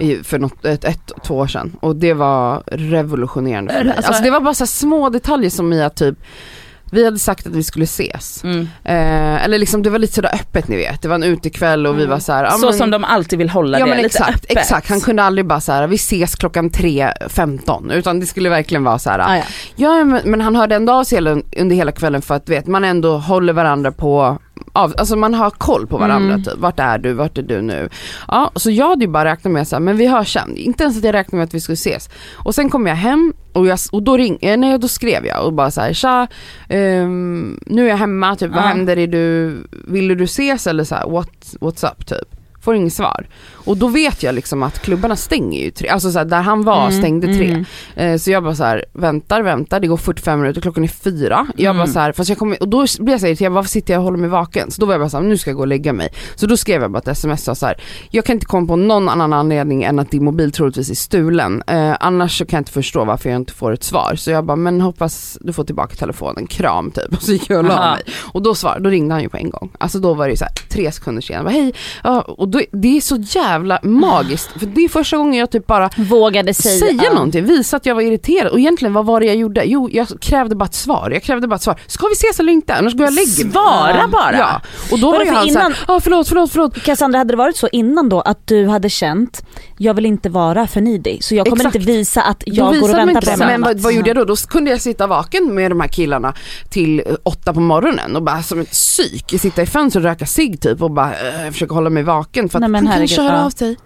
eh, i- för något, ett, ett, två år sedan och det var revolutionerande för mig. Alltså- Alltså, det var bara så här små detaljer som i att typ vi hade sagt att vi skulle ses. Mm. Eh, eller liksom det var lite sådär öppet ni vet, det var en utekväll och vi var såhär, ja, så men- som de alltid vill hålla Ja det, men lite exakt, öppet. exakt, han kunde aldrig bara såhär, vi ses klockan 3.15 utan det skulle verkligen vara såhär, Ah, ja. Ja men, men han hörde ändå av sig hela, under hela kvällen för att vet, man ändå håller varandra på av, alltså man har koll på Mm. varandra typ. Vart är du, vart är du nu? Ja, så jag hade ju bara räknat med så här, men vi hörs sen. Inte ens att jag räknade med att vi skulle ses. Och sen kom jag hem och, jag, och då, ring, eh, nej, då skrev jag och bara så här, tja, ehm, nu är jag hemma, typ, vad Ja. händer? Är du, vill du ses eller så här, what, what's up typ? Får inget svar. Och då vet jag liksom att klubbarna stänger ju tre, alltså så här, där han var stängde tre. Eh, Så jag bara så här, väntar, väntar, det går 45 minuter, klockan är fyra. Jag bara så här, fast jag kommer, och då blev jag så här, irriterad, varför sitter jag och håller mig vaken? Så då var jag bara så här, nu ska jag gå och lägga mig. Så då skrev jag bara ett sms och så här, jag kan inte komma på någon annan anledning än att din mobil troligtvis är stulen. Eh, annars så kan jag inte förstå varför jag inte får ett svar. Så jag bara, men hoppas du får tillbaka telefonen, kram typ. Och så gick jag och la Aha. mig. Och då, svar, då ringde han ju på en gång. Alltså då var det ju så här, tre sekunder senare, jag bara, hej. Ja, och då, det är så jävla magiskt. För det är första gången jag typ bara Vågade säga, säga någonting, visa att jag var irriterad. Och egentligen vad var det jag gjorde? Jo, jag krävde bara ett svar. Jag krävde bara ett svar. Ska vi ses eller inte? Annars går jag och lägger mig. Svara bara. Ja. Och då var, Var det ju för han innan- såhär, ah, förlåt, förlåt, förlåt. Cassandra, hade det varit så innan då att du hade känt, jag vill inte vara för nidig så jag kommer Exakt. inte visa att Då jag går och visade man väntar inte på det. Men vad, mig. vad gjorde jag då? Då kunde jag sitta vaken med de här killarna till eh, åtta på morgonen och bara som ett psyk sitta i fönstret och röka cigg typ och bara eh, försöka hålla mig vaken för att Nej, men han kan ju herregud, köra ja. av sig.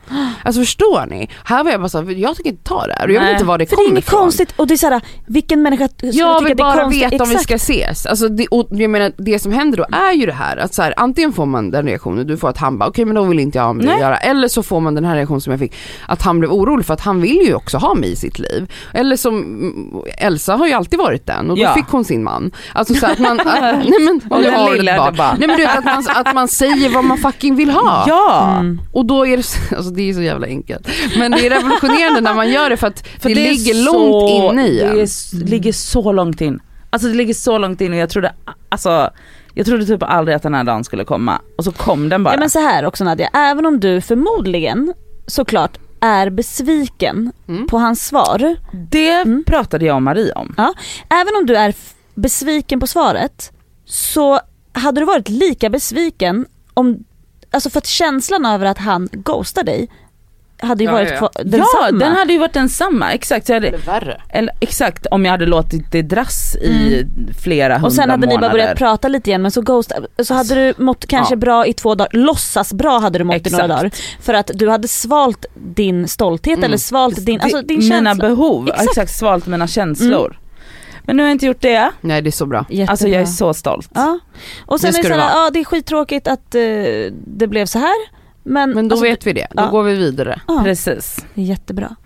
Alltså förstår ni? Här var jag bara såhär, jag tänker inte ta det här och jag Nej. vet inte var det För det är kommer inget ifrån. konstigt och det är såhär, vilken människa skulle Jag tycka vill det är bara konstigt? veta om vi Exakt. ska ses. Alltså det, och jag menar, det som händer då är ju det här att så här, antingen får man den reaktionen, du får att han bara okej men då vill inte jag ha med dig att göra. Eller så får man den här reaktionen som jag fick, att han blev orolig för att han vill ju också ha mig i sitt liv. Eller som mm, Elsa har ju alltid varit den och då Ja. fick hon sin man. Alltså så att man, att, nej men, och den har lilla ett barn. bara. Nej men du vet att man, att man säger vad man fucking vill ha. Ja! Mm. Och då är det, så- alltså det är så jävla enkelt. Men det är revolutionerande när man gör det för att det, är ligger så- långt inne i Det en. är, s- ligger så långt in. Alltså det ligger så långt in och jag trodde, alltså, jag trodde typ aldrig att den här dagen skulle komma. Och så kom den bara. Ja, men så här också Nadja, även om du förmodligen såklart är besviken Mm. på hans svar. det Mm. pratade jag och Marie om. Även om du är f- besviken på svaret så hade du varit lika besviken om, alltså för att känslan över att han ghostar dig hade ju Ja, varit ja, ja. kvar- densamma. Ja den hade ju varit densamma, exakt. Så jag hade, Eller värre. eller, exakt om jag hade låtit det dras i Mm. flera hundra och sen hade ni månader. bara börjat prata lite igen men så ghost, så hade du mått kanske ja. bra i två dagar, låtsas bra hade du mått i några Exakt. dagar. För att du hade svalt din stolthet Mm. eller svalt din, alltså din mina känsla. behov, Exakt. exakt. svalt mina känslor. Mm. Men nu har jag inte gjort det, Nej det är så bra. alltså jag är Jättebra. så stolt. Ah. Ja. Och sen Det är det ska det såhär, vara. ja det är skittråkigt att eh, det blev så här. Men, Men då alltså, vet vi det, då ja. går vi vidare. ja, Precis. det är jättebra.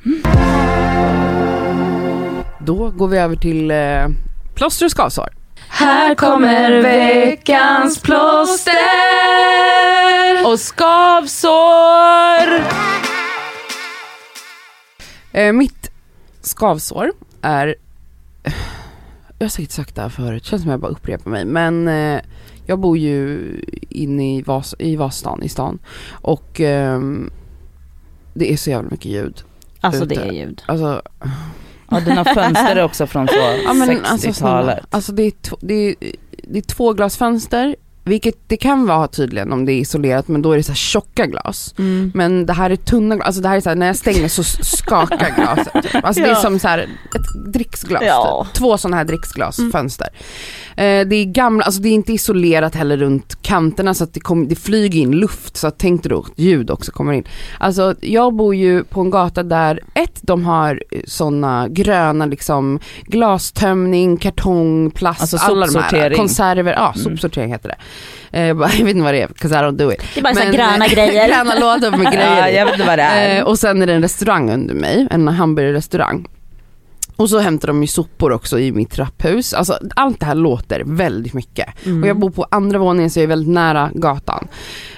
Då går vi över till eh, plåster och skavsår. Här kommer veckans plåster och skavsår. Eh, mitt skavsår är, jag har säkert sagt det här förut, känns som jag bara upprepar mig men eh, jag bor ju inne i, Vas- i Vasastan, i stan och ehm, det är så jävla mycket ljud. Alltså Ute. det är ljud. Alltså, Ja dina fönster är också från så ja, men, alltså, 60-talet. snälla, alltså det, är tv- det, är, det är två glasfönster, vilket det kan vara tydligen om det är isolerat men då är det så här tjocka glas. Mm. Mm. Men det här är tunna glas, alltså det här är så här, när jag stänger så skakar glaset. Typ. Alltså det är Ja. som så här, ett dricksglas, Ja. typ. två sådana här Mm. dricksglasfönster. Eh, det är gamla, alltså det är inte isolerat heller runt kanterna så att det, kom, det flyger in luft så att tänk dig då att ljud också kommer in. Alltså jag bor ju på en gata där ett, de har sådana gröna liksom glastömning, kartong, plast, Alltså alla de här sopsortering. konserver, ja Mm. sopsortering heter det. Eh, jag, bara, jag vet inte vad det är, 'cause I don't do it. Det är bara såhär Men- gröna grejer. gröna lådor med Ja, grejer i. jag vet inte vad det är. Eh, och sen är det en restaurang under mig, en hamburgerrestaurang. Och så hämtar de ju sopor också i mitt trapphus. Alltså, allt det här låter väldigt mycket. Mm. Och jag bor på andra våningen så jag är väldigt nära gatan.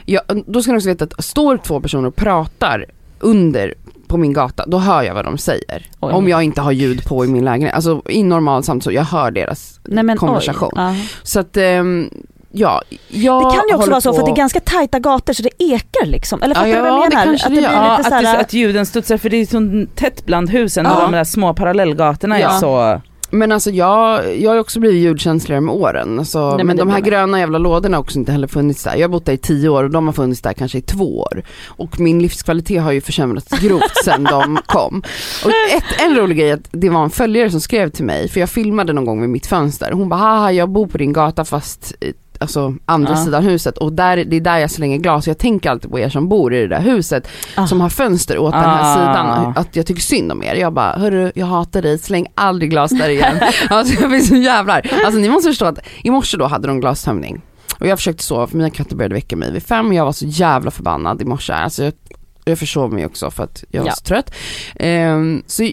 Jag, då ska ni också veta att står två personer och pratar under på min gata, då hör jag vad de säger. Oj. Om jag inte har ljud på i min lägenhet. Alltså i normal samtal, jag hör deras Nej, men, oj. konversation. Ja. Så att, ehm, ja. Jag Det kan ju också håller vara så för att det på- är ganska tajta gator så det ekar liksom. Eller Ja, fattar du vad ja, jag det menar? kanske att det det blir gör. Ja, lite att, det, såhär, att ljuden studsar för det är så tätt bland husen Ja. och de där små parallellgatorna Ja. är så... Men alltså jag, jag har ju också blivit ljudkänsligare med åren. Alltså, men men det de här blir man. gröna jävla lådorna har också inte heller funnits där. Jag har bott där i tio år och de har funnits där kanske i två år. Och min livskvalitet har ju försämrats grovt sedan de kom. Och ett, en rolig grej är att det var en följare som skrev till mig, för jag filmade någon gång vid mitt fönster. Hon bara haha jag bor på din gata fast eh, Alltså andra Ja. sidan huset och där, det är där jag slänger glas. Jag tänker alltid på er som bor i det där huset Ah. som har fönster åt den här Ah. sidan. Att jag tycker synd om er. Jag bara, hörru jag hatar dig, släng aldrig glas där igen. Alltså jag blir så jävla arg. Alltså ni måste förstå att i morse då hade de glastömning. Och jag försökte sova för mina katter började väcka mig vid fem och jag var så jävla förbannad i morse. Alltså jag, jag försov mig också för att jag var Ja. så trött. Ehm, så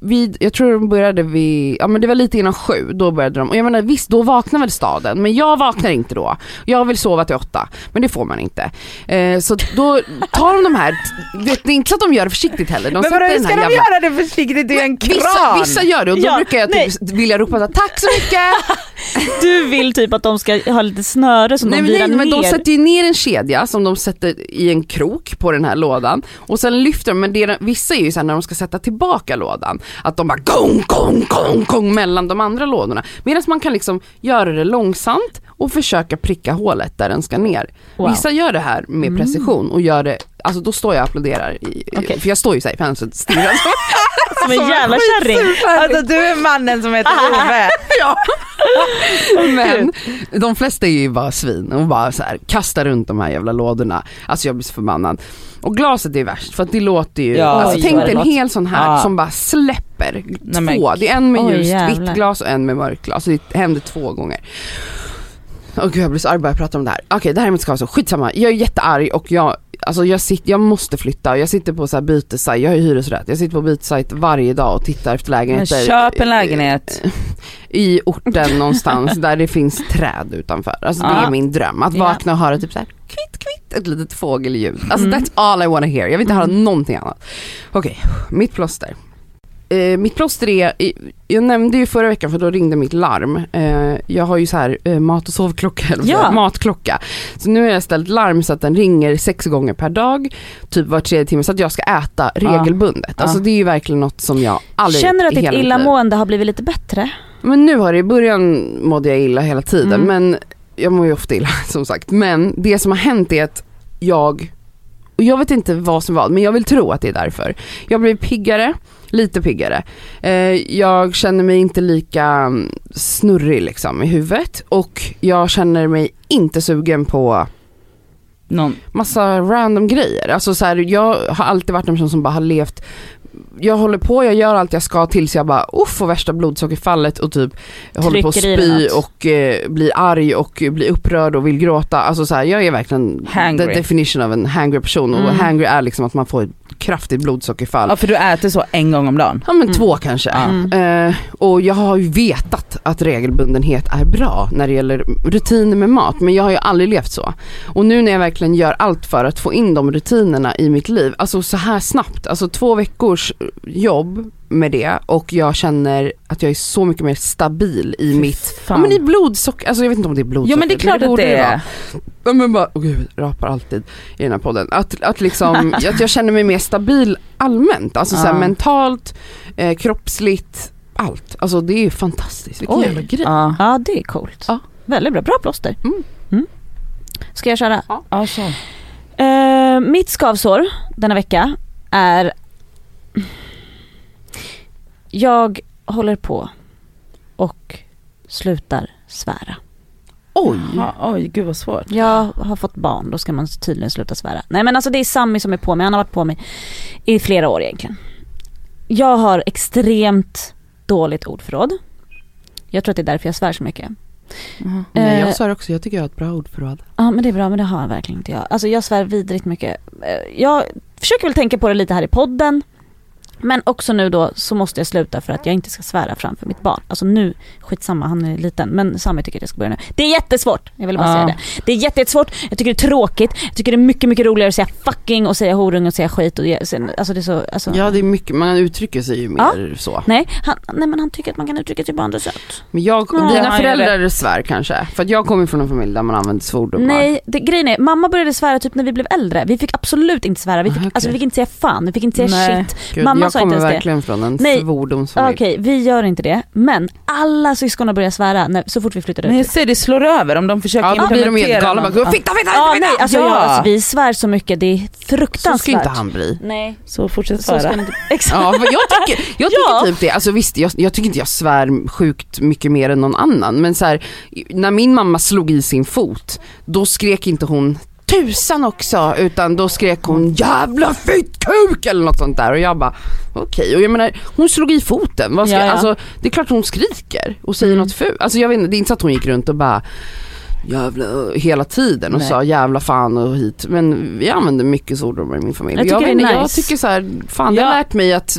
vid, jag tror de började vid, ja men det var lite innan sju, då började de. Och jag menar visst, då vaknar väl staden, men jag vaknar inte då. Jag vill sova till åtta, men det får man inte. Eh, så då tar de de här, vet, det är inte så att de gör det försiktigt heller. De sätter den här jävla- det försiktigt? Det är en Vissa, vissa gör det och då Ja, brukar jag typ vilja ropa så här, tack så mycket, Du vill typ att de ska ha lite snöre som Nej, de men, virar nej, men ner. de sätter ju ner en kedja som de sätter i en krok på den här lådan och sen lyfter de, men det är, vissa är ju såhär när de ska sätta tillbaka lådan, att de bara gong, gong, gong, gong mellan de andra lådorna. Medan man kan liksom göra det långsamt och försöka pricka hålet där den ska ner. Wow. Mm. Vissa gör det här med precision och gör det, alltså då står jag och applåderar, i, i- Okej. för jag står ju såhär i fönstret och stirrar. som en jävla kärring. Alltså du är mannen som heter Ove. Ja. Men de flesta är ju bara svin och bara så här, kastar runt de här jävla lådorna. Alltså jag blir så förbannad. Och glaset är värst för att det låter ju, Ja, alltså oj, tänk vad dig det en låter. hel sån här Ja. som bara släpper. Nej, men- två, det är en med Oj, ljust jävlar. vitt glas och en med mörkt glas. Så Det händer två gånger. Åh gud jag blir så arg bara jag pratar om det här. Okej det här är mitt skavsår, skitsamma. Jag är jättearg och jag, alltså jag, sitter, jag måste flytta. Jag sitter på så här bytessajt, jag har ju hyresrätt. Jag sitter på bytessajt varje dag och tittar efter Men lägenheter. Eh, köp en lägenhet. i orten någonstans där det finns träd utanför. Alltså det Ja. är min dröm, att Ja. vakna och höra typ så här kvitt kvitt, ett litet fågelljud. Alltså Mm. that's all I wanna hear, jag vill inte höra någonting annat. Okej, mitt plåster. Eh, mitt plåster är, i- jag nämnde ju förra veckan för då ringde mitt larm. Eh, jag har ju så här eh, mat och sovklocka, eller Ja. ja. matklocka. Så nu har jag ställt larm så att den ringer sex gånger per dag, typ var tredje timme, så att jag ska äta regelbundet. Alltså det är ju verkligen något som jag aldrig Känner du gjort att i ditt hela mitt liv. illamående har blivit lite bättre? Men nu har det, i början mådde jag illa hela tiden Mm. men jag mår ju ofta illa som sagt. Men det som har hänt är att jag, och jag vet inte vad som var men jag vill tro att det är därför. Jag blir piggare, lite piggare. Eh, jag känner mig inte lika mm, snurrig liksom i huvudet och jag känner mig inte sugen på Någon. massa random grejer. Alltså så här, jag har alltid varit en person som bara har levt, jag håller på, jag gör allt jag ska tills jag bara uff får värsta blodsockerfallet och typ jag håller på att Trycker i dig spy något. och eh, blir arg och blir upprörd och vill gråta. Alltså så här, jag är verkligen Hangry. the definition av en hangry person och Mm. hangry är liksom att man får ett kraftigt blodsockerfall. Ja, för du äter så en gång om dagen. Ja men två kanske. Ja. Mm. Eh, och jag har ju vetat att regelbundenhet är bra när det gäller rutiner med mat men jag har ju aldrig levt så. Och nu när jag verkligen gör allt för att få in de rutinerna i mitt liv, alltså så här snabbt, alltså två veckors jobb med det och jag känner att jag är så mycket mer stabil i mitt, ja, fan. men i blodsocker, alltså jag vet inte om det är blodsocker. Ja men det är klart att borde det vara. är. Ja, men bara, åh gud, rapar alltid i den här podden. Att, att, liksom, att jag känner mig mer stabil allmänt, alltså så här, Ja. mentalt, eh, kroppsligt, allt. Alltså det är fantastiskt, vilken Oj. jävla grej. Ja. Ja det är coolt. Ja. Väldigt bra, bra plåster. Mm. Mm. Ska jag köra? Ja, så. Eh, mitt skavsår denna vecka är... Jag håller på och slutar svära. Oj! Ja, oj gud vad svårt. Jag har fått barn, då ska man tydligen sluta svära. Nej men alltså det är Sammy som är på mig, han har varit på mig i flera år egentligen. Jag har extremt dåligt ordförråd. Jag tror att det är därför jag svär så mycket. Mm-hmm. Mhm. Nej, Eh, jag sa det också, jag tycker jag har ett bra ordförråd. Ja men det är bra men det har jag verkligen inte jag. Alltså jag svär vidrigt mycket. Eh, Jag försöker väl tänka på det lite här i podden. Men också nu då så måste jag sluta för att jag inte ska svära framför mitt barn. Alltså nu, skitsamma han är liten men Sami tycker att jag ska börja nu. Det är jättesvårt, jag vill bara Ja. säga det. Det är jätte- jättesvårt, jag tycker det är tråkigt, jag tycker det är mycket mycket roligare att säga fucking och säga horung och säga skit och ge- sen- alltså det är så, alltså. Ja det är mycket, man uttrycker sig ju mer så. Nej, han, nej men han tycker att man kan uttrycka sig på andra sätt. Men jag, Ja. Ja, dina jag föräldrar svär kanske, för att jag kommer från en familj där man använder svordomar. Nej, det, grejen är, mamma började svära typ när vi blev äldre. Vi fick absolut inte svära, vi fick, Ah, okej. alltså, vi fick inte säga fan, vi fick inte säga Nej. shit. Gud, mamma jag sa inte kommer ens det. verkligen från en Nej. Ah, svordomsfamilj. Okej, vi gör inte det. Men alla syskon har börjat svära när, så fort vi flyttade Men jag ut. säger det slår över om de försöker Ja då blir de helt galna, bara, något. fitta fitta Ja, fitta nej, fitta! alltså, Ja. jag, alltså, vi svär så mycket, det är fruktansvärt. Så ska inte han bli. Nej, Ja, Så fortsätt så ska svara. han inte. Exakt. Ja, för jag tycker, jag tycker liksom. Ja. typ det. Alltså visst, jag, jag tycker inte jag svär sjukt mycket mer än någon annan. Men så här, när min mamma slog i sin fot, då skrek inte hon tusan också, utan då skrek hon jävla fittkuk eller något sånt där. Och jag bara okej. Och jag menar, hon slog i foten. Vad ska, Ja, Mm. ja. Alltså, det är klart hon skriker och säger något fult. Alltså jag vet inte, det är inte så att hon gick runt och bara jävla hela tiden och Nej. sa jävla fan och hit. Men vi använder mycket svordomar i min familj. Jag tycker vet det är inte, jag nice. tycker så här, fan det Ja. har lärt mig att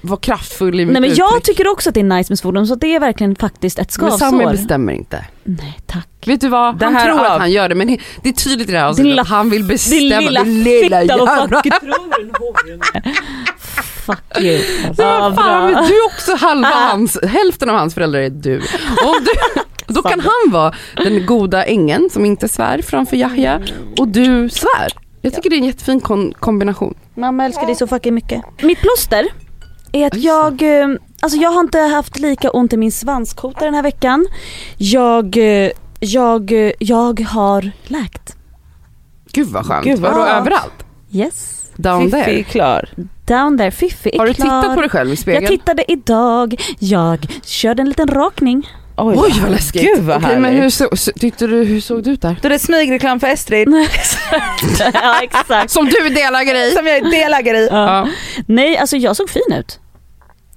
vara kraftfull i mitt Nej men jag uttryck. tycker också att det är nice med svordom så det är verkligen faktiskt ett Men Sami skavsår. bestämmer inte. Nej tack. Vet du vad, Det han här tror av- att han gör det men det, det är tydligt i det här avsnittet lilla- att han vill bestämma. lilla fitta, vad jävla... fuck Fuck you. Ja, Ja, fan, bra. Ah. men du är också halva hans, hälften av hans föräldrar är du. Om du, Då kan han vara den goda ängeln som inte svär framför Yahya och du svär. Jag tycker det är en jättefin kon- kombination. Mamma älskar dig så fucking mycket. Mitt plåster är att Oj, så. jag, eh, alltså jag har inte haft lika ont i min svanskota den här veckan. Jag, eh, jag, eh, jag har läkt. Gud vad skönt. Ah. Gud, vad Vadå, skönt. överallt? Yes. Down Fiffi är there. klar. Down there, Fiffi är Har du klar. tittat på dig själv i Jag spegeln? tittade idag, jag körde en liten rakning. Oj, Oj vad läskigt. Gud vad Okej, härligt. men hur, så, så, tyckte du, hur såg du ut där? Då är det smygreklam för Estrid ja exakt. Som du är delägare i. som jag är delägare i. Ja. Nej alltså jag såg fin ut.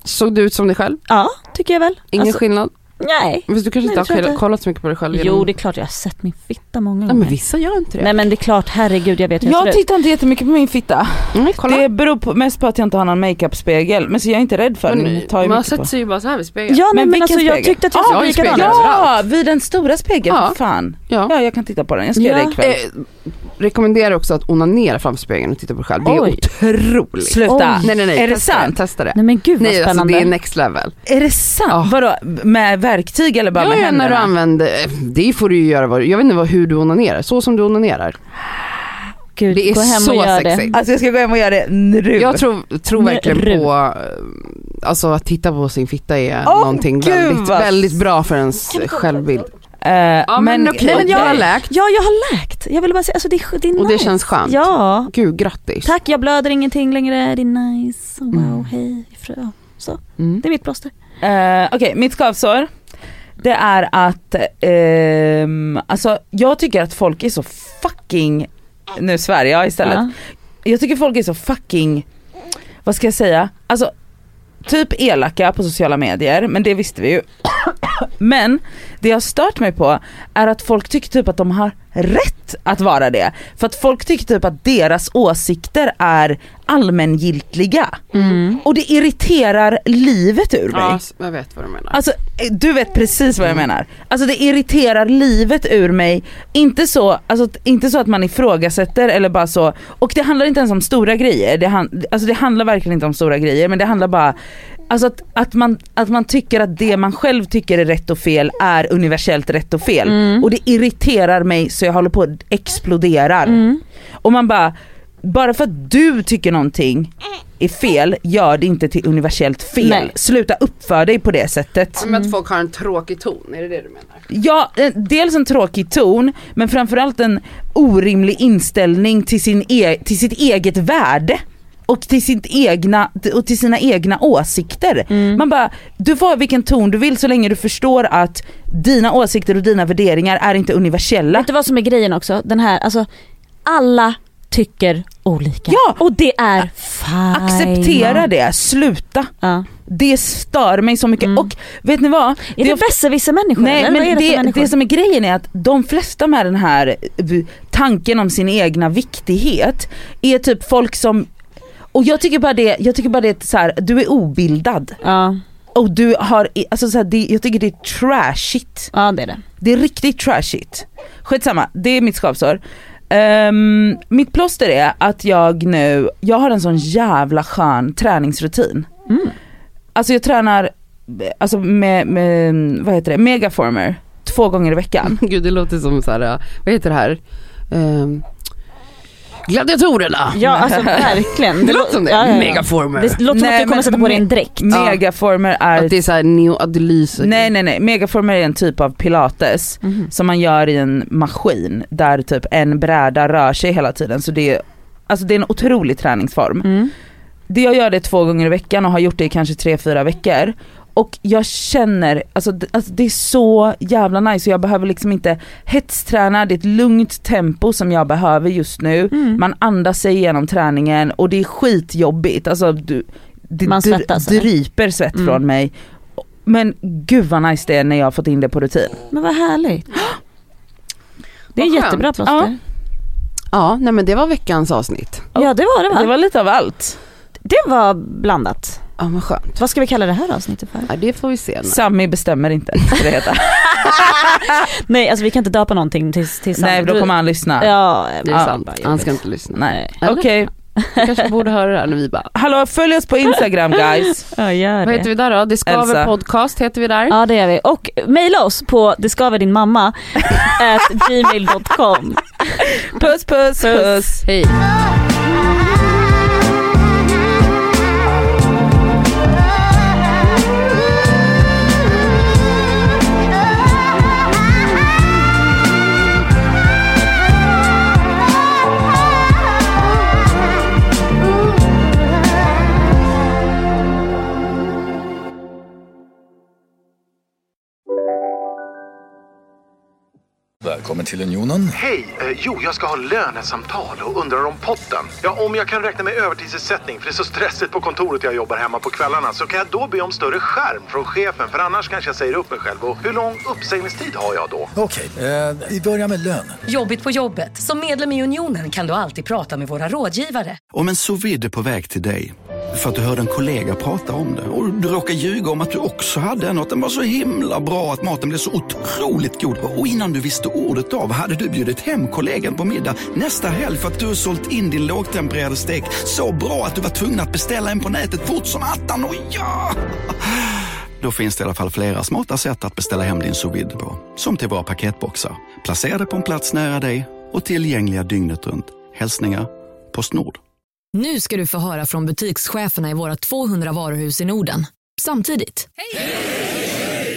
Såg du ut som dig själv? Ja tycker jag väl. Ingen alltså, skillnad? nej. Fast du kanske Nej, det inte tror jag har inte. kollat så mycket på dig själv? Jo det är klart jag har sett min fitta många Nej gånger. men vissa gör inte det. Nej men det är klart, herregud jag vet hur jag, Jag ser ut. tittar inte jättemycket på min fitta. Mm, kolla. Det beror på, mest på att jag inte har någon makeupspegel. Men så jag är inte rädd för den. Men, Jag tar ju man mycket på. sätter sig ju bara så här vid spegeln. Ja nej, Men men, vilken alltså jag spegel? tyckte att jag Ja, såg i likadan spegeln. ut. Ja, vid den stora spegeln. Ja. Fan. Ja. Ja, jag kan titta på den. Jag ska Ja. göra det ikväll. Eh, rekommenderar också att onanera framför spegeln och titta på dig själv. Det är Oj. otroligt. Sluta. Nej nej nej, Är det testa sant? Testa det. Nej men gud vad Nej alltså spännande. det är next level. Är det sant? Ja. Vadå, med verktyg eller bara Ja, med ja, när du händerna? använder, eh, det får du ju göra vad du- jag vet inte vad, hur du onanerar, så som du onanerar. Gud, Det är gå hem så och gör sexigt. Alltså jag ska gå hem och göra det nu. Jag tror, tror verkligen Ru. på, eh, alltså att titta på sin fitta är Åh, någonting gud, väldigt, vad- väldigt bra för ens eh, självbild. Eh, Ja men, okej, nej, men det har jag, läkt det. Ja jag har läkt. Jag ville bara säga, alltså det är, det är och nice. det känns skönt. Ja. Gud grattis. Tack, jag blöder ingenting längre, det är nice. Wow, Mm. hej. Frö. Så, Mm. det är mitt plåster. Eh, Okej, mitt skavsår. Det är att, ehm, alltså jag tycker att folk är så fucking, nu svär jag istället. Ja. Jag tycker folk är så fucking, vad ska jag säga, alltså typ elaka på sociala medier, men det visste vi ju. Men det jag har stört mig på är att folk tycker typ att de har rätt att vara det. För att folk tycker typ att deras åsikter är allmängiltiga. Och det irriterar livet ur mig. Ja, jag vet vad du menar. Alltså eh, du vet precis vad jag menar. Alltså det irriterar livet ur mig. Inte så, alltså, t- inte så att man ifrågasätter eller bara så. Och det handlar inte ens om stora grejer. Det, han, alltså, det handlar verkligen inte om stora grejer men det handlar bara Alltså att, att, man, att man tycker att det man själv tycker är rätt och fel är universellt rätt och fel. Och det irriterar mig så jag håller på att explodera. Och man bara, bara för att du tycker någonting är fel gör det inte till universellt fel. Nej. Sluta uppföra dig på det sättet. Som att folk har en tråkig ton, är det det du menar? Ja, eh, dels en tråkig ton men framförallt en orimlig inställning till, sin e- till sitt eget värde. Och till, sitt egna, och till sina egna åsikter. Mm. Man bara, du får ha vilken ton du vill så länge du förstår att dina åsikter och dina värderingar är inte universella. Vet du vad som är grejen också? Den här, alltså alla tycker olika. Ja. Och det är fine. Acceptera det, sluta. Ja. Det stör mig så mycket och vet ni vad? Mm. Är Det det, är- besserwisser-människor Nej eller? vad är men det, för det, människor? det som är grejen är att de flesta med den här eh, tanken om sin egna viktighet är typ folk som och jag tycker bara det, jag tycker bara det är så här, du är obildad ja. och du har, i- alltså så här, det, jag tycker det är trashigt. ja, det är det. Det är riktigt trashigt. Skitsamma, det är mitt skavsår. Ehm, mitt plåster är att jag nu, jag har en sån jävla skön träningsrutin. Mm. Alltså jag tränar, alltså med, med vad heter det, megaformer två gånger i veckan. Gud det låter som så här, ja, vad heter det här? Ehm, gladiatorerna! Ja alltså verkligen. Det låter som det, Ja, ja, ja. megaformer. Det låter som Nej, att du kommer men- sätta på dig en dräkt. Mm. Ja. Megaformer är... Att det är så här neo, att det lyser. Nej nej nej, megaformer är en typ av pilates Mhm. som man gör i en maskin där typ en bräda rör sig hela tiden så det är, alltså det är en otrolig träningsform. Mm. Det jag gör det två gånger i veckan och har gjort det i kanske tre, fyra veckor och jag känner, alltså, d- alltså det är så jävla nice och jag behöver liksom inte hetsträna, det är ett lugnt tempo som jag behöver just nu. Mm. Man andas sig igenom träningen och det är skitjobbigt. Alltså, du, det Man svettas, dr- eller? dryper svett Mm. från mig. Men gud vad nice det är när jag har fått in det på rutin. Men vad härligt. Det är Vad skönt. jättebra plåster. Ja, nej men det var veckans avsnitt. Ja. det var det va? Det var lite av allt. Det var blandat. Ja men skönt. Vad ska vi kalla det här avsnittet för? Ja, det får vi se. nu. Sammy bestämmer inte. ska Det heter. Nej alltså vi kan inte döpa någonting till, till samma. Nej då kommer han lyssna. Ja, Det är Ja, sant, bara jobbigt. han ska inte lyssna. Nej. Eller? Okej, Du kanske borde höra det här när vi bara, Hallå följ oss på Instagram guys. Ja, gör vad heter vi där då? Det skaver Elsa. podcast heter vi där. Ja det gör vi. Och mejla oss på det skaver din mamma at gmail.com. Puss puss puss. Hej. Välkommen till Unionen. Hej! Eh, jo, jag ska ha lönesamtal och undrar om potten. Ja, om jag kan räkna med övertidsersättning för det är så stressigt på kontoret jag jobbar hemma på kvällarna så kan jag då be om större skärm från chefen för annars kanske jag säger upp mig själv. Och hur lång uppsägningstid har jag då? Okej, eh, vi börjar med lön. Jobbigt på jobbet. Som medlem i Unionen kan du alltid prata med våra rådgivare. Om en så vid är på väg till dig för att du hörde en kollega prata om det och du råkar ljuga om att du också hade en och att den var så himla bra att maten blev så otroligt god och innan du visste ordet av hade du bjudit hem kollegan på middag nästa helg för att du sålt in din lågtempererade stek så bra att du var tvungen att beställa en på nätet fort som attan. Och ja! Då finns det i alla fall flera smarta sätt att beställa hem din sous vide på. Som till våra paketboxar. Placerade på en plats nära dig och tillgängliga dygnet runt. Hälsningar Postnord. Nu ska du få höra från butikscheferna i våra 200 varuhus i Norden. Samtidigt. Hej!